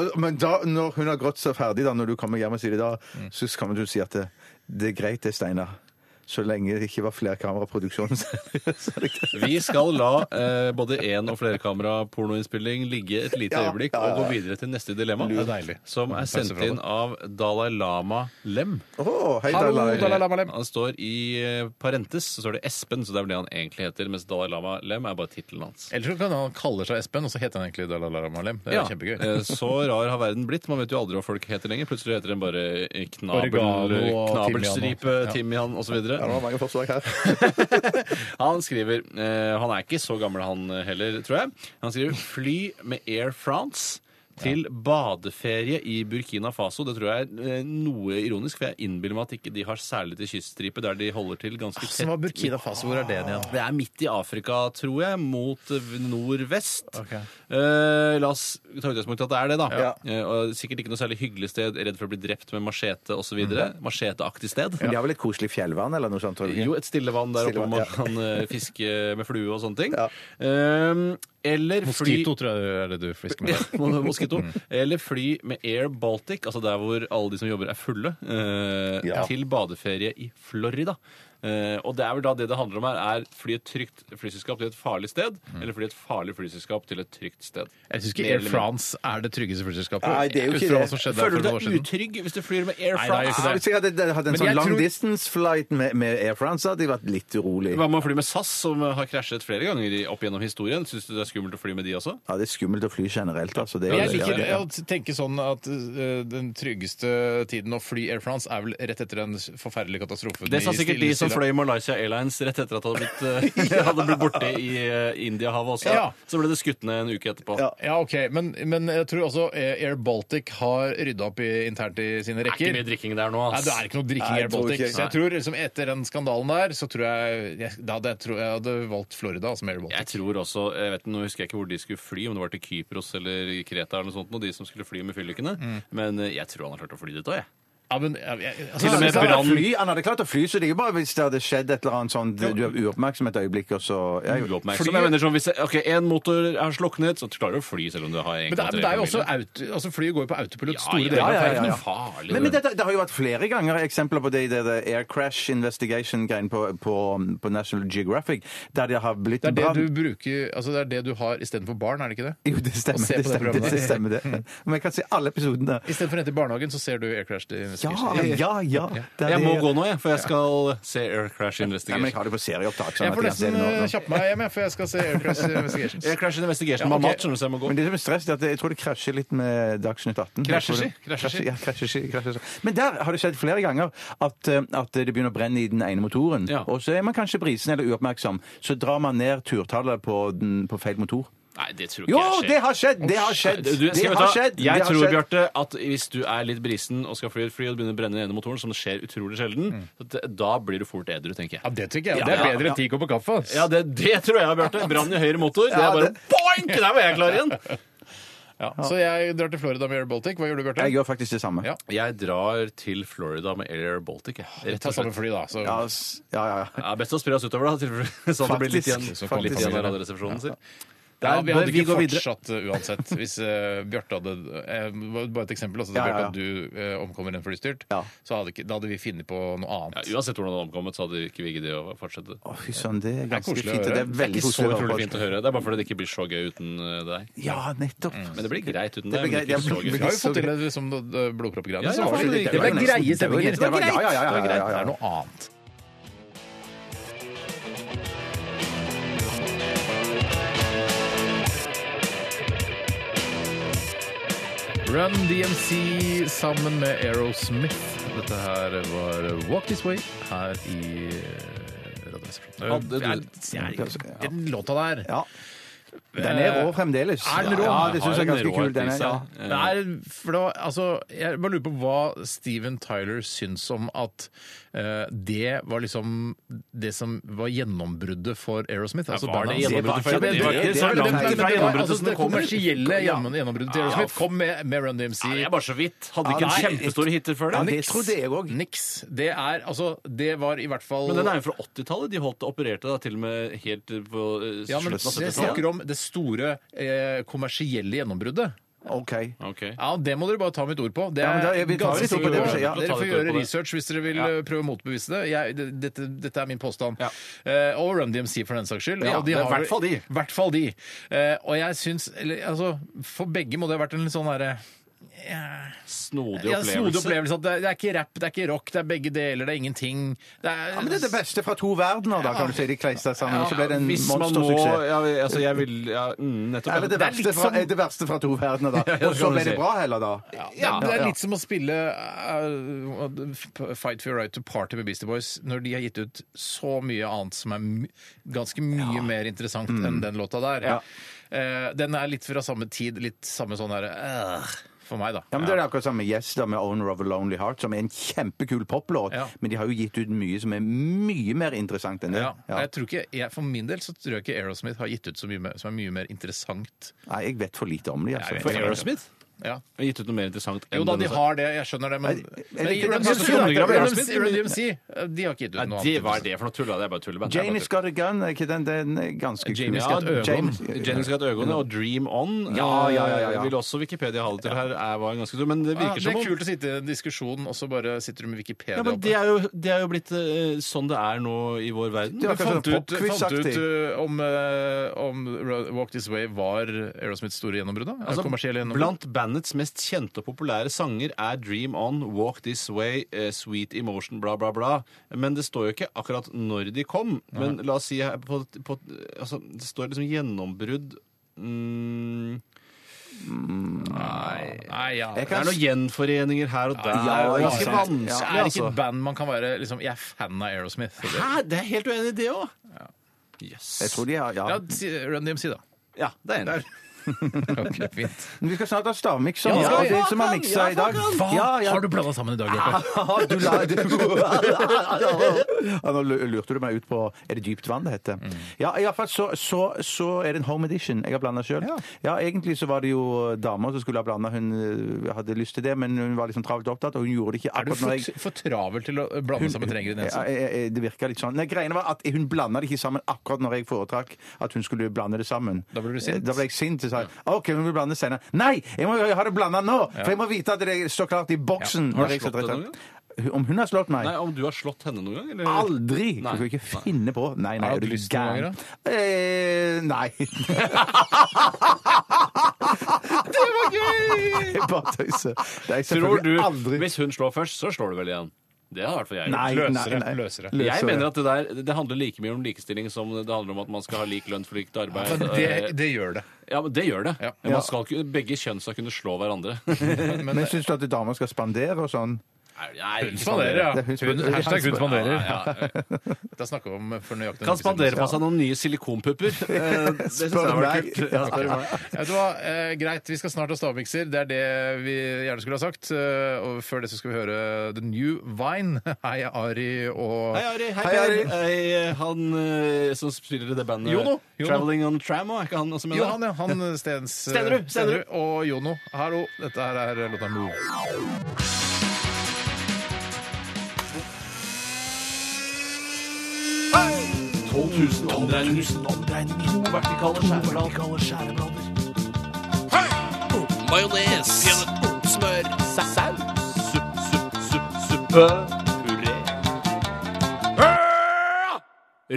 Og- Men da, når hun har grått så ferdig, da, når du kommer hjem og sier det da, så kommer du til å si at det, det er greit det, Steinar. Så lenge det ikke var flerkameraproduksjon. så er det greit. Vi skal la eh, både én- og flerkamera-pornoinnspilling ligge et lite Ja, øyeblikk ja, ja. og gå videre til neste dilemma, Det er deilig. som er Pause sendt fra inn det. av Dalai Lama Lem. Åh, hei, Hallo, Dalai. Dalai Lama Lem. Han står i eh, parentes, så står det Espen, så det er vel det han egentlig heter, mens Dalai Lama Lem er bare tittelen hans. Ellers så kan han kalle seg Espen, og så heter han egentlig Dalai Lama Lem. Det er Ja, jo kjempegøy. eh, Så rar har verden blitt. Man vet jo aldri hva folk heter lenger. Plutselig heter den bare eh, knabel, Oregano og knabelstripe, timian timian osv. Ja, det var mange forslag her. Han skriver eh, Han er ikke så gammel han eh, heller, tror jeg. Han skriver 'fly med Air France'. Til badeferie i Burkina Faso. Det tror jeg er eh, noe ironisk, for jeg innbiller meg at ikke de har særlig til kyststripe der de holder til ganske tett. Som var Burkina Faso, hvor er det igjen? Det er midt i Afrika, tror jeg, mot eh, nordvest. Ok. Eh, la oss ta utgangspunkt i at det er det, da. Ja. Eh, og sikkert ikke noe særlig hyggelig sted, redd for å bli drept med machete osv. Mhm. videre Macheteaktig sted. Men de har vel et koselig fjellvann eller noe sånt? tror du ikke? Jo, et stille vann der Stille oppe hvor vann, ja. man kan eh, fiske med flue og sånne ting. Ja. Eh, eller fly Moskito, tror jeg er det du fisker med. Moskito. Eller fly med Air Baltic, altså der hvor alle de som jobber, er fulle, eh, Ja. til badeferie i Florida. Eh, og det er vel da det det handler om her, er fly et trygt flyselskap til et farlig sted, eller fly et farlig flyselskap til et trygt sted. Mm. Jeg syns ikke Mer Air eller mindre. France er det tryggeste flyselskapet. Nei, det er jo Ut ikke fra det. hva som skjedde der Føler for du noen år deg siden. utrygg hvis du flyr med Air Nei, nei, jeg gjør France? ikke det. Hvis jeg hadde hadde en Men sånn jeg tror- long distance-flight med, med Air France, hadde jeg vært litt urolig. Hva med å fly med SAS, som har krasjet flere ganger i- opp gjennom historien? Syns du det er skummelt å fly med de også? Ja, det er skummelt å fly generelt, altså. Det, er- Men Jeg liker ja, ja. å tenke sånn at eh, den tryggeste tiden å fly Air France er vel rett etter den forferdelige katastrofen. Det sa i sikkert Stille- de som Stille- fløy Malaysia Airlines rett etter at det hadde blitt, eh, hadde blitt borte i eh, Indiahavet også. Ja. Så ble det skutt ned en uke etterpå. Ja. Ja, ok, men, men jeg tror også eh, Air Baltic har rydda opp i, internt i sine Det er ikke rekker. mye drikking der nå, Nei, ass. det er ikke noe drikking Nei, i jeg Air tror Baltic. ikke- Så jeg tror liksom etter den skandalen der, så tror jeg jeg, da hadde jeg, tro, jeg hadde valgt Florida som Air Jeg Baltic. tror også, jeg vet, Nå husker jeg ikke hvor de skulle fly, om det var til Mm. Kypros eller Kreta, eller noe sånt, og de som skulle fly med fyllikene. Men eh, jeg tror han har klart å fly dit òg, jeg. Ja, men, jeg- jeg- altså, Til og med Så han hadde brann. fly- Han hadde klart å fly, så det er jo bare hvis det hadde skjedd et eller annet sånn Du du er uoppmerksom et øyeblikk, og så ja, jo. Uoppmerksom. Jeg mener sånn, hvis det- ok, én motor er sluknet, så klarer du å fly selv om du har Men det, er, men 1,3 det er jo på også bilen. auto, altså Flyet går jo på autopilot Ja, store ja, deler av ja, ja, ferden. ja, ja. Det er ikke noe farlig, Men, det. men dette, det har jo vært flere ganger eksempler på det i det, det Air Crash Investigation greien på, på, på National Geographic, der det har blitt Det er det brann. du bruker, altså det er det du har istedenfor barn, er det ikke det? Jo, det Å stemmer. se på Det det stemmer, det, programmet. stemmer det. Men jeg kan se alle episodene. Istedenfor å hente i barnehagen, så ser du Air Crash Ja, Investigation. ja, ja. Det er Jeg må det- gå nå, jeg, for jeg skal se Air Crash Nei, men jeg Investigation. har det på serieopptak. Sånn Jeg får at jeg ser nesten det nå- eh, nå. kjappe meg hjem, jeg, for jeg skal se Air Crash Investigations. Air Crash Investigation Ja, var ok. mat, skjønner du, så jeg må gå. Men det som er stress, det er at jeg tror det krasjer litt med Dagsnytt Krasjer 18. Jeg tror det- si, krasjer si. Ja, krasjer si, krasjer si. Men der har det skjedd flere ganger at, eh, at det begynner å brenne i den ene motoren. Ja. Og så er man kanskje brisen eller uoppmerksom. Så drar man ned turtallet på, den, på feil motor. Nei, det tror ikke Jo, jeg skjer. det har skjedd! Det har skjedd! Du, skal Det vi har ta- skjedd! Jeg Det har tror, skjedd. Bjarte, at hvis du er litt brisen og skal fly et fly og det begynner å brenne i ene motoren, som det skjer utrolig Mm. sjelden, d- da blir du fort edru, tenker Ja, jeg. det tenker jeg. Det er Ja, ja, bedre enn ti kopper kaffe. ass. Ja, det, det tror jeg, Bjarte. Brann i høyre motor. Det er Ja, bare det- boink! Der var jeg klar igjen. Ja. Så jeg drar til Florida med Air Baltic. Hva gjør du, Bjarte? Jeg gjør faktisk det samme. Ja. Jeg drar til Florida med Air Baltic. jeg. Rett Ta og samme slett. fly, da. Så. Ja, s- ja, ja. ja. Ja, best å spre oss utover, da. til- Sånn at det blir litt Faktisk. igjen, Så kommer litt igjen av familien. Radioresepsjonen sier. Ja, vi hadde Der- ikke går videre. fortsatt uh, uansett hvis eh, Bjarte hadde eh, Bare et eksempel. Altså, Ja, ja, ja. Bjarte, at du eh, omkommer i en flystyrt, Ja. så hadde ikke, da hadde vi funnet på noe annet. Ja, uansett hvordan det hadde omkommet, så hadde ikke vi giddet å fortsette. Å, fy søren, det er ganske koselig å høre. fint. og Det er veldig Ikke så koselig å høre utrolig på. fint å høre. Det er bare fordi det ikke blir så gøy uten eh, deg. Ja, nettopp. Men det blir greit uten Det blir deg. Men greit. ikke så Jeg gøy. blir- Vi har jo Så fått til det som eh, blodproppgreiene. Ja, så ja, var det- det, det var var nesten- greie det var- stemninger. det var- ja, ja, ja, ja, Det var greit. ja, ja. Det er noe annet. Run DMC sammen med Aerosmith. Dette her var Walk This Way her i eh, Radioresepsjonen. Hadde du- Den låta der Ja. Den er rå fremdeles. Er den rå? Ja, det syns jeg er Har en ganske kult. Den er, råhet i ja. seg. Det er, for det var, altså, jeg bare lurer på hva Steven Tyler syns om at eh, det var liksom det som var gjennombruddet for Aerosmith. Altså, var bandet det hans. gjennombruddet for Det var Aerosmith? ikke- Det var ikke så det- det- langt det- ifra det- det- gjennombruddet altså, som Det det kommer. kommersielle gjennom- gjennombruddet til Aerosmith kom med, med Run Nei, DMC. jeg er bare så vidt. Hadde ikke Nei, en kjempestor hit før Ja, det. det trodde jeg òg. Niks. Det er altså Det var i hvert fall Men den er jo fra 80-tallet. De holdt opererte da til og med helt på eh, ja, men slutten av Jeg snakker 70-tallet. om det store eh, kommersielle gjennombruddet. OK. Ok. Ja, Det må dere bare ta mitt ord på. Det Ja, er men da- jeg- vi tar ganske litt ord på det sikkert. for seg, ja. Dere Ta får litt ord på gjøre det. research hvis dere vil Ja. eh, prøve å motbevise det. Jeg, det- dette, dette er min påstand. Ja. Eh, og Run DMC, for den saks skyld. Ja, og de det er i har- hvert fall de. i hvert fall de. Eh, og jeg syns eller, altså, For begge må det ha vært en litt sånn derre Snodig ja, snodig opplevelse. opplevelse. At det, det er ikke rap, det er ikke rock, det er begge deler, det er ingenting. Det er, Ja, men det er det beste fra to verdener, da, kan du si. De kleista sammen, og så ble det en Hvis man må monstersuksess. ja, altså, jeg vil, ja, mm, nettopp, Eller det er litt sånn- verste, fra, som- eh, det verste fra to verdener, da. det Og kan så du ble si. det bra heller, da. Ja, det er ja. litt som å spille eh, Fight for your right to party med Beastie Boys når de har gitt ut så mye annet som er my- ganske mye mer interessant Mm. enn den låta der. Eh, den er litt fra samme tid, litt samme sånn derre For meg, da. Ja, men Det er det akkurat samme Yes da med Owner of a Lonely Heart, som er en kjempekul poplåt. Ja. Men de har jo gitt ut mye som er mye mer interessant enn det. Ja. Ja. Jeg tror ikke, jeg, for min del så tror jeg ikke Aerosmith har gitt ut så mye mer, som er mye mer interessant. Nei, jeg vet for lite om de, altså. Jeg For Aerosmith? Ja. Har gitt ut noe mer interessant enn Jo da, de denne saken. har det, jeg skjønner det, men Nei, jeg- Nei, jeg- jeg- Run jeg- DMC, jeg- jeg- jeg- Run jeg- DMC, Run DMC, eh, de har ikke gitt ut noe Nei, det annet. liksom. hva er det for noe tull? da? Det er bare tulleband. Det er bare Janie's tull. Got a Gun, er ikke den, den er ganske kul? Janie's Got Ja, Øgon. James- Jenny Skatt Øgone og Dream Ja, On ja, ja, ja, ja. eh, vil også Wikipedia ha det til her. Er, var ganske, men det Ja, virker det er som om kult å sitte i en diskusjon, og så bare sitter du med Wikipedia ja, men oppe. det er, jo, det er jo blitt eh, sånn det er nå i vår verden. Det Du er fant akkurat sånn ut, fant ut popquiz-aktig. uh, om, uh, om Ro- Walk This Way var Aerosmiths store gjennombrudd? da? Altså, Kommersielle gjennombrudd? blant bandets mest kjente og populære sanger er Dream On, Walk This Way, eh, Sweet Emotion, bla, bla, bla. Men det står jo ikke akkurat når de kom. Men la oss si her på, på, altså, Det står liksom gjennombrudd mm, Nei, ja. Jeg Det kan er noen gjenforeninger her og der. Ja, ja, og det er ja, ganske sant. vanskelig, Det er ikke altså. et band man kan være liksom, Jeg er fan av Aerosmith. Så det- Hæ? Det er helt uenig i det òg. Jøss. Jeg tror de har, Ja, ja. si- Run DMC, da. Ja, det er enig. Ok, fint. Men Vi skal snart ha stavmikser. Ja, Ja, skal vi? det som har miksa i dag. Ah, Ja, Ah, ja. Har du blanda sammen i dag, Bjarte? Du la det Ja, nå lurte du meg ut på Er det dypt vann det heter? Ja, i hvert fall så, så, så er det en home edition jeg har blanda sjøl. Ja. egentlig så var det jo dama som skulle ha blanda. Hun øh, hadde lyst til det, men hun var liksom travelt opptatt, og hun gjorde det ikke Er du akkurat når jeg for, for travel til å blande sammen ja, trengrenser? jeg- jeg- det virka litt sånn. Nei, greiene var at Hun blanda det ikke sammen akkurat når jeg foretrakk at hun skulle blande det sammen. Da ble du sint? Eh, Da ble jeg sint. Så sa jeg OK, hun vil blande det senere. Nei! Jeg må jo ha det blanda nå! For jeg må vite at det står klart i boksen. Ja. Har du når jeg slått setter henne et- Om hun har slått meg? Nei, om du har slått henne noen gang? Eller? Aldri! Nei. Du kan ikke finne på Nei, nei, Har du er hatt du lyst noen gæren? ganger, Eh, nei. Det var gøy! Jeg bare tøyser. Det er Tror du, selvfølgelig aldri Hvis hun slår først, så slår du vel igjen? Det har i hvert fall jeg gjort. Nei, Løsere, nei, nei. løsere. Jeg mener at det der det handler like mye om likestilling som det handler om at man skal ha lik lønn for likt arbeid. Eh, Men det, det gjør det. ja, men det gjør det. Ja. Men Man skal ikke, begge kjønn skal kunne slå hverandre. Men syns du at damer skal spandere og sånn? Nei, eh, Hun spanderer, ja. Det er Hun, hun spanderer. hashtag hun Ja, spanderer. ja. Da snakker vi om for nøyaktig Kan spandere på seg noen nye silikonpupper. Eh, Det syns jeg Spør var meg. kult. Ja, spør meg. Vet du hva, eh, Greit, vi skal snart ha stavmikser. Det er det vi gjerne skulle ha sagt. Eh, og før det så skal vi høre The New Vine. Hei, Ari og Hei, Ari. Hei, Hei, Ari. Per. Hei, han eh, som spiller i det bandet Jono. Jono. Traveling on Tram, er ikke han også med Jo, der? han, ja. Han eh, Stens... Stenerud, Stenerud. Og Jono. Hallo. Dette her er låta Move.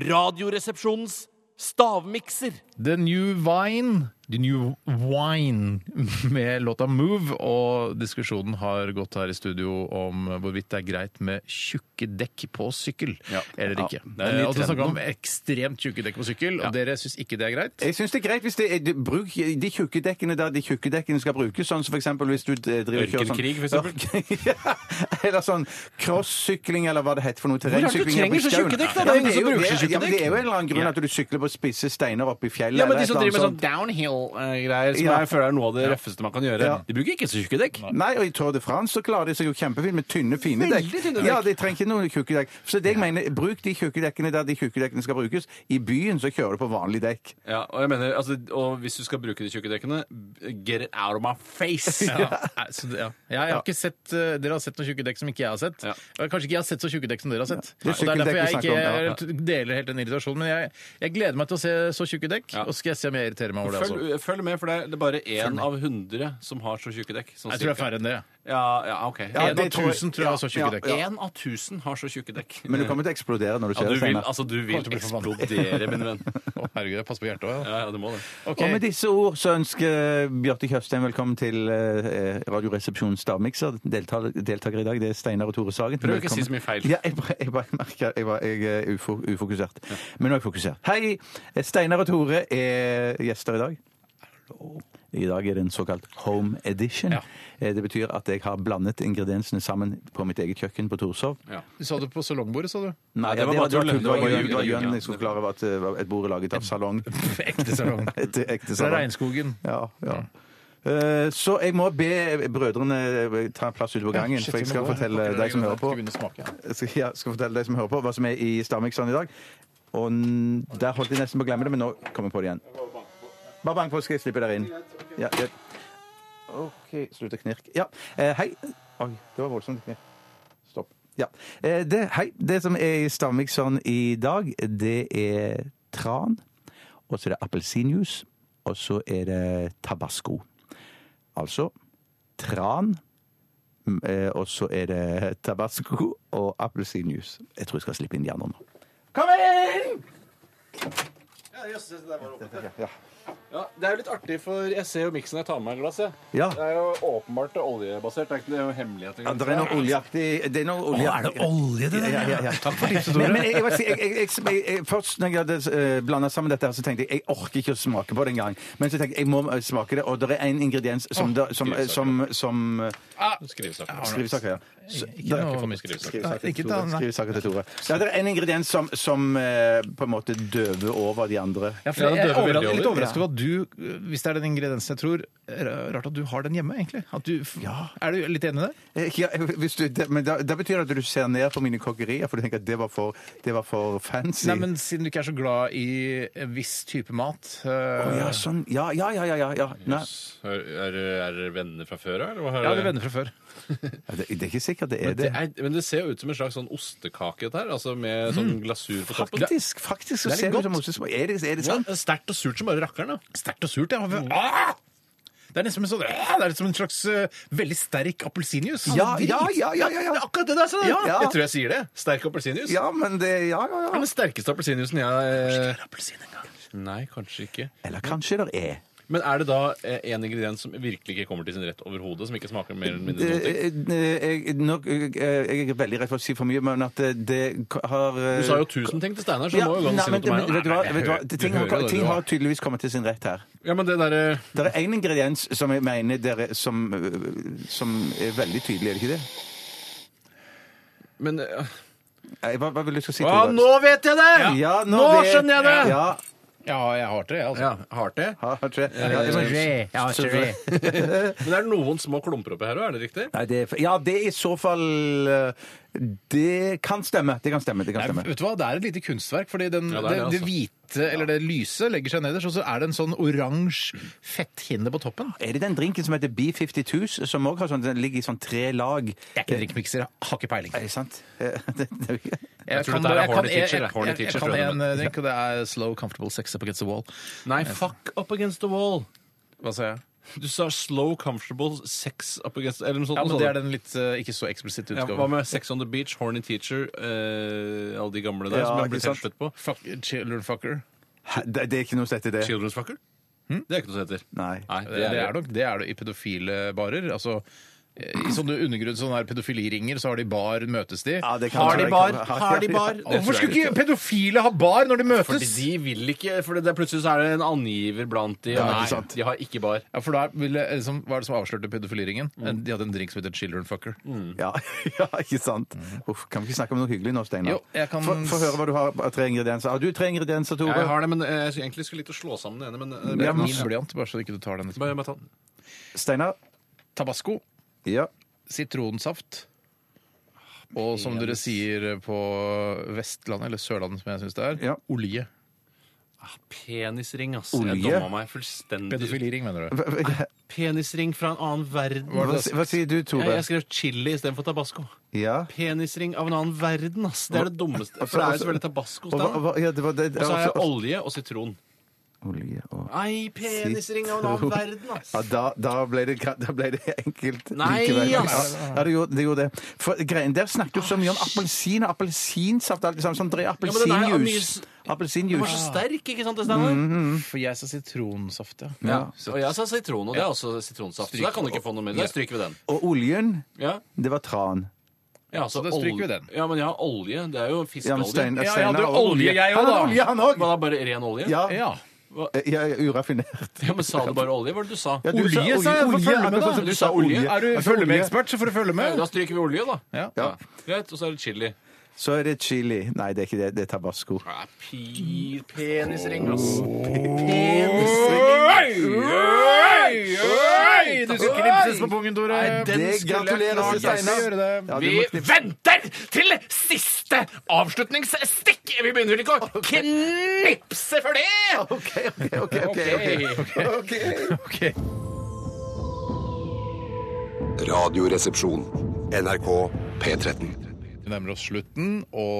Radioresepsjonens stavmikser. The New Vine. The New Wine med låta Move. Og diskusjonen har gått her i studio om hvorvidt det er greit med tjukke dekk på sykkel Ja. eller ikke. Ja, det er Eh, litt Og så snakker vi trenden. om ekstremt tjukke dekk på sykkel, og dere syns ikke det er greit? Jeg syns det er greit hvis det er, de, bruk de tjukke dekkene der de tjukke dekkene skal brukes, sånn som for eksempel hvis du eh, driver og kjører sånn Ørkenkrig, for eksempel. Ørken- Eller sånn crossykling, eller hva det heter for noe. er det du Terrengsykling oppe trenger i så skauen. tjukke dekk, da? Ja, Det er men ingen som jo bruker så tjukke ja, men det dekk. er jo en eller annen grunn at du sykler på spisse steiner oppe i fjellet. Ja, men eller de et som eller driver med sånn annet downhill-greier, som Ja. jeg føler er noe av det røffeste man kan gjøre, Ja. de bruker ikke så tjukke dekk. Nei, og i Tour de France så klarer de seg jo kjempefint med tynne, fine dekk. Veldig tynne dekk. Ja, de trenger ikke noen tjukke dekk. Så det jeg mener, bruk de tjukke dekkene der de tjukke dekkene skal brukes. I byen så kjører du på vanlig dekk. Ja, og jeg mener, altså, og hvis du skal bruke de tjukke dekkene, get it out of my face! Ja. Nei, så det- ja. Jeg har ikke sett, eh, dere har sett noen tjukke dekk som ikke jeg har sett. Ja. Og Kanskje ikke jeg har sett så tjukke dekk som dere har sett. Det er Og det er derfor sykkeldekk jeg vi snakker ikke deler helt den irritasjonen. Men jeg, jeg gleder meg til å se så tjukke dekk, Ja. og så skal jeg se om jeg irriterer meg over det også. Følg, følg med, for det er- det er bare én av hundre som har så tjukke dekk. Sånn Jeg tror det er cirka. færre enn det. Ja, ja, ok. Ja, En en, av det tror jeg- tusen tror jeg har så tjukke ja, dekk. ja. en av tusen har så tjukke dekk. Men du kommer til å eksplodere når du ja, ser du det vil, senere. altså, du vil til å bli forbanna. eksplodere, min venn. Å, herregud, jeg passer på hjertet òg. Ja, ja, du må det. Og med disse ord så ønsker Bjarte Tjøstheim velkommen til eh, Radioresepsjonens stavmikser. Deltaker, deltaker i dag det er Steinar og Tore Sagen. Prøv å ikke Velkommen. si så mye feil. Ja, jeg, bare- jeg bare merker jeg, var, jeg er ufo, ufokusert. Men nå er jeg fokusert. Hei! Steinar og Tore er gjester i dag. I dag er det en såkalt home edition. Ja. Eh, Det betyr at jeg har blandet ingrediensene sammen på mitt eget kjøkken på Torshov. Ja. Du sa det på salongbordet, sa du? Nei, det var bare tull. tull. Det var Det var Jønn- Jønn- det var Jønn. Jønn, ja. Jeg skulle klare at det var et bord laget av salong. Ekte salong. Et ekte Fra salong. regnskogen. Ja, ja. Eh, Så jeg må be brødrene ta en plass ute på gangen, for jeg skal fortelle deg som hører på Begynne å smake. jeg skal, ja, skal fortelle deg som hører på, hva som er i Stamikson i dag. Og n- der holdt jeg nesten på å glemme det, men nå kommer jeg på det igjen. Bare bank på, skal jeg slippe dere inn. Ja, ja. OK, slutt å knirke. Ja, eh, hei. Oi, det var voldsomt knirk. Stopp. Ja. Eh, det, hei. Det som er i Stamikson i dag, det er tran, og så er det appelsinjuice, og så er det tabasco. Altså tran. Mm, eh, Og så er det tabasco og appelsinjuice. Jeg tror jeg skal slippe inn de andre nå. Kom inn! Ja, det er jo litt artig, for jeg ser jo miksen jeg tar med meg glass. Jeg. Ja. Det er jo åpenbart oljebasert. Det er ikke det er jo hemmelighet Ja, det er noe oljeaktig Det er noe oljeaktig olje, det Ja, ja, ja. Takk for tipset, Men, Tore. men jeg, jeg, jeg, jeg, jeg, jeg, først når jeg hadde eh, blandet sammen dette, her, så tenkte jeg jeg orker ikke å smake på det engang. Men så tenkte jeg jeg må eh, smake det, og det er en ingrediens som, da- som, eh, som, som, eh, Skrivesaker, ja. Så- Ikke der- noe skrivesaker. Skrivesaker Ikke til Tore. ta den, nei. Skrivesaker til Tore. Ja, det er en ingrediens som, som eh, på en måte døver over de andre. Ja, for jeg er døver veldig overras- litt over. overrasket Vet du hva, du, hvis det er den ingrediensen jeg tror, er det rart at du har den hjemme, egentlig. At du, Er du litt enig i det? Eh, Ja, hvis du, det, men da, da betyr det at du ser ned på mine kokkerier, for du tenker at det var for, det var for fancy. Nei, men siden du ikke er så glad i en viss type mat eh, Å, ja, sånn. Ja, ja, ja, ja. ja, ja. Nei. Er, er, er dere venner fra før, eller? hva er Ja, det er venner fra før. Ja, Det, det er ikke sikkert det er Men det. det, er, men det ser jo ut som en slags sånn ostekake, dette her. Altså med sånn glasur på toppen. Faktisk, faktisk så Det er ser litt det ut som ostesmå. Er det, er det sant? Ja, Sterkt og surt som bare rakkeren, da. Sterkt og surt. Ja. Ah! Det er nesten som en, sånn, ah! det er som en slags eh, veldig sterk appelsinjuice. Ja, ja, ja, ja, ja, Det ja. er akkurat det der, sånn! Ja. Jeg tror jeg sier det. Sterk appelsinjuice. Ja, men det Ja, ja, ja. Ja, Den sterkeste appelsinjuicen jeg Nei, kanskje ikke. Eller kanskje det er. Men er det da eh, en ingrediens som virkelig ikke kommer til sin rett overhodet? Som ikke smaker mer eller mindre noe? Eh, eh, Jeg, nok, eh, jeg er veldig redd for å si for mye, men at eh, det har eh, Du sa jo tusen ting til Steinar, så ja, må jo gå an nei, å si men, noe til meg. men, nå. vet du hva, Nei, vet du hva? jeg hører- Ting, du hører har, det, ting du har også. tydeligvis kommet til sin rett her. Ja, men det derre Det er én ingrediens som jeg mener dere, som, eh, som er veldig tydelig, er det ikke det? Men eh, Nei, Hva, hva vil du skal si? Å, Tore? nå vet jeg det! ja, nå, nå vet- skjønner jeg det! Ja, ja jeg har det, jeg, altså. Ja, har det. ja, har ikke- ja, Eh, det- Men det er noen små klumper oppi her òg, er det riktig? Nei, det er, ja, det er i så fall eh, Det kan stemme. Det kan stemme. det kan Nei, stemme. vet du hva, Det er et lite kunstverk, fordi den, Ja, det, det er det, det, altså. hvite eller det lyse legger seg nederst, og så er det en sånn oransje fetthinne på toppen. Er det den drinken som heter B52s, som også har sånn, den ligger i sånn tre lag? Jeg er ikke drinkmikser, jeg har ikke peiling. Er det sant? Eh, det- det- Jeg tror kan dette er bare- Horny jeg- Teacher, jeg- Horny jeg- jeg Teacher, kan tror jeg en det eh, drink, og det er Slow Comfortable Sex Up Against the Wall. Nei, fuck up against the wall. Hva sa jeg? Du sa slow, comfortable, sex up against Eller noe sånt. Ja, men noe Det er sånt. den litt eh, ikke så eksplisitte Ja, hva utgaven. med Sex on the Beach, Horny Teacher, eh, alle de gamle der Ja, som ikke jeg ble sant. helt slutt på? Fuck, children fucker. det, det er ikke noe som heter det. Children's Fucker? Det er ikke noe som heter. Nei. Det, det er nok det er det i pedofile barer. Altså i sånne undergrunn, sånne her pedofiliringer, så har de bar, møtes de. Ja, det kan Har de være- bar? Har de bar? Og Hvorfor skulle ikke pedofile ha bar når de Fordi møtes? de vil ikke, for det er plutselig så er det en angiver blant de. og ikke nei, sant. de har ikke bar. Ja, for da ville, liksom, Hva er det som avslørte pedofiliringen? Mm. De hadde en drink som heter Children Fucker. Ja, ja, ikke sant? Uff, kan vi ikke snakke om noe hyggelig nå, Steinar? Jo, jeg kan- Få få høre hva du har av tre ingredienser. Har du tre ingredienser, Tore? Jeg har det, men eh, jeg skulle egentlig skulle litt å slå sammen det ene, men eh, Det Ja, er men- min blyant, bare så ikke du tar den. etterpå. bare, bare ta den. Steinar? Tabasco, Ja. sitronsaft Ah, og som dere sier på Vestlandet, eller Sørlandet som jeg syns det er, Ja. olje. Ah, Penisring, ass. Olje? Jeg domma meg fullstendig. Pedofiliring, mener du? Hva, hva, Penisring fra en annen verden. hva, hva sier du, Jeg, Tore? jeg skrev chili istedenfor tabasco. Ja. Penisring av en annen verden, ass. Det er det dummeste. For det er jo selvfølgelig tabasco. Og hva- Og hva- ja, det var det- så har jeg altså- olje og sitron. Olje og Nei, penisring av en annen verden, ass. Ja, da, da, ble det, gra- da ble det enkelt Nei, Ja, ass! ja, det gjorde det. Gjorde det. For greien der snakket du så mye om appelsin og appelsinsaft. alt det samme som dreier men den er jo appelsinjuice. Den var så Appelsinjuice. sterk, ikke sant, det Steinar? For jeg sa sitronsaft, ja. Ja. Og jeg sa sitron, og det er også sitronsaft. Så der kan du ikke få noe mer. Der stryker vi den. Og oljen, Ja, det var tran. ja så da stryker vi den. Ja, men jeg har olje. Det er jo Ja, men fiskeolje. Stein- Ja, jeg Steinar hadde jo hadde olje, jeg Han også, hadde da. olje, han òg! Var det bare ren olje? Ja, eh, Ja. ja, uraffinert. Ja, Men sa du bare olje? Hva var det du sa? Ja, du sa Olje, sa jeg, for å følge med, akkurat da. som Du sa olje. Er du Jeg sa olje. følgemedekspert, så får du følge med. Da stryker vi olje, da. Ja. Greit, og så er det chili. Så er det chili. Nei, det er ikke det. Det er tabasco. Ja, pi- Penisring, ass. Oi! Du skal knipses på pungen, Tore. Det gratulerer til Steinar. Ja, du Vi må knippe- venter til siste avslutningsstikk! Vi begynner ikke å knipse for det! OK, OK, OK. ok, ok. Ok. Radioresepsjon. NRK P13. Vi nærmer oss slutten, og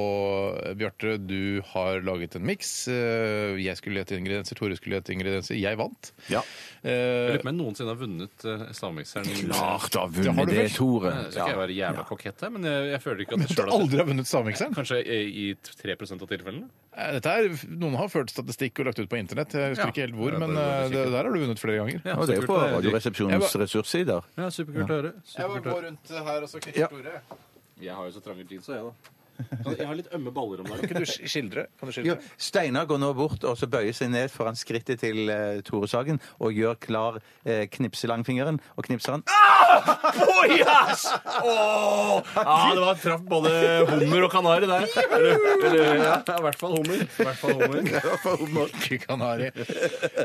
Bjarte, du har laget en miks. Eh, Jeg skulle gjette ingredienser, Tore skulle gjette ingredienser. Jeg vant. Ja. Eh, Men noensinne har vunnet uh, stavmikseren. Klart du har Det har vunnet du det, vel. Tore. Nå skal jeg være jævla kokett her, men jeg, jeg føler ikke at jeg at du sjøl har aldri har vunnet stavmikseren? Kanskje i 3 av tilfellene? Eh, Dette er, noen har ført statistikk og lagt ut på internett. Jeg husker Ja. ikke helt hvor, Ja, men det er eh, det, sikkert. der har du vunnet flere ganger. Ja, det er jo på Radioresepsjonens ressurssider. Ja, superkult å høre. Jeg Superkult å høre. rundt eh, her og så knytte Ja. Tore. Jeg har jo så trange jeans, jeg, da. Jeg har litt ømme baller om dagen. Kan du sk- skildre? Kan du Jo, skildre? Steinar går nå bort og så bøyer seg ned foran skrittet til eh, Tore Sagen og gjør klar eh, knipselangfingeren og knipser han. Ah! Oi, ass! Åh! Ja, det var traff både hummer og kanari der. Eller, eller, ja, I hvert fall hummer. I hvert fall hummer. Ikke Kanari.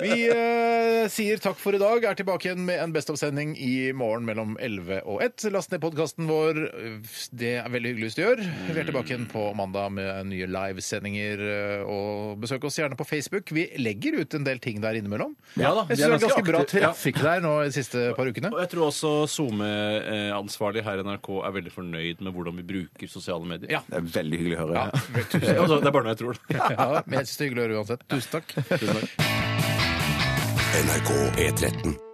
Vi eh, sier takk for i dag. Er tilbake igjen med en Best of-sending i morgen mellom 11 og 1. Last ned podkasten vår. Det er veldig hyggelig hvis du gjør. Vi er tilbake igjen på mandag med nye livesendinger. eh, Og besøk oss gjerne på Facebook. Vi legger ut en del ting der innimellom. Ja da, Jeg synes vi er det er ganske ganske bra aktive. trafikk der nå de siste par ukene. Og jeg tror også SoMe-ansvarlig her i NRK er veldig fornøyd med hvordan vi bruker sosiale medier. Ja. Det er veldig hyggelig å høre. Altså, det er bare noe jeg tror. Ja, men jeg synes det er hyggelig å høre uansett. Tusen takk. NRK P13.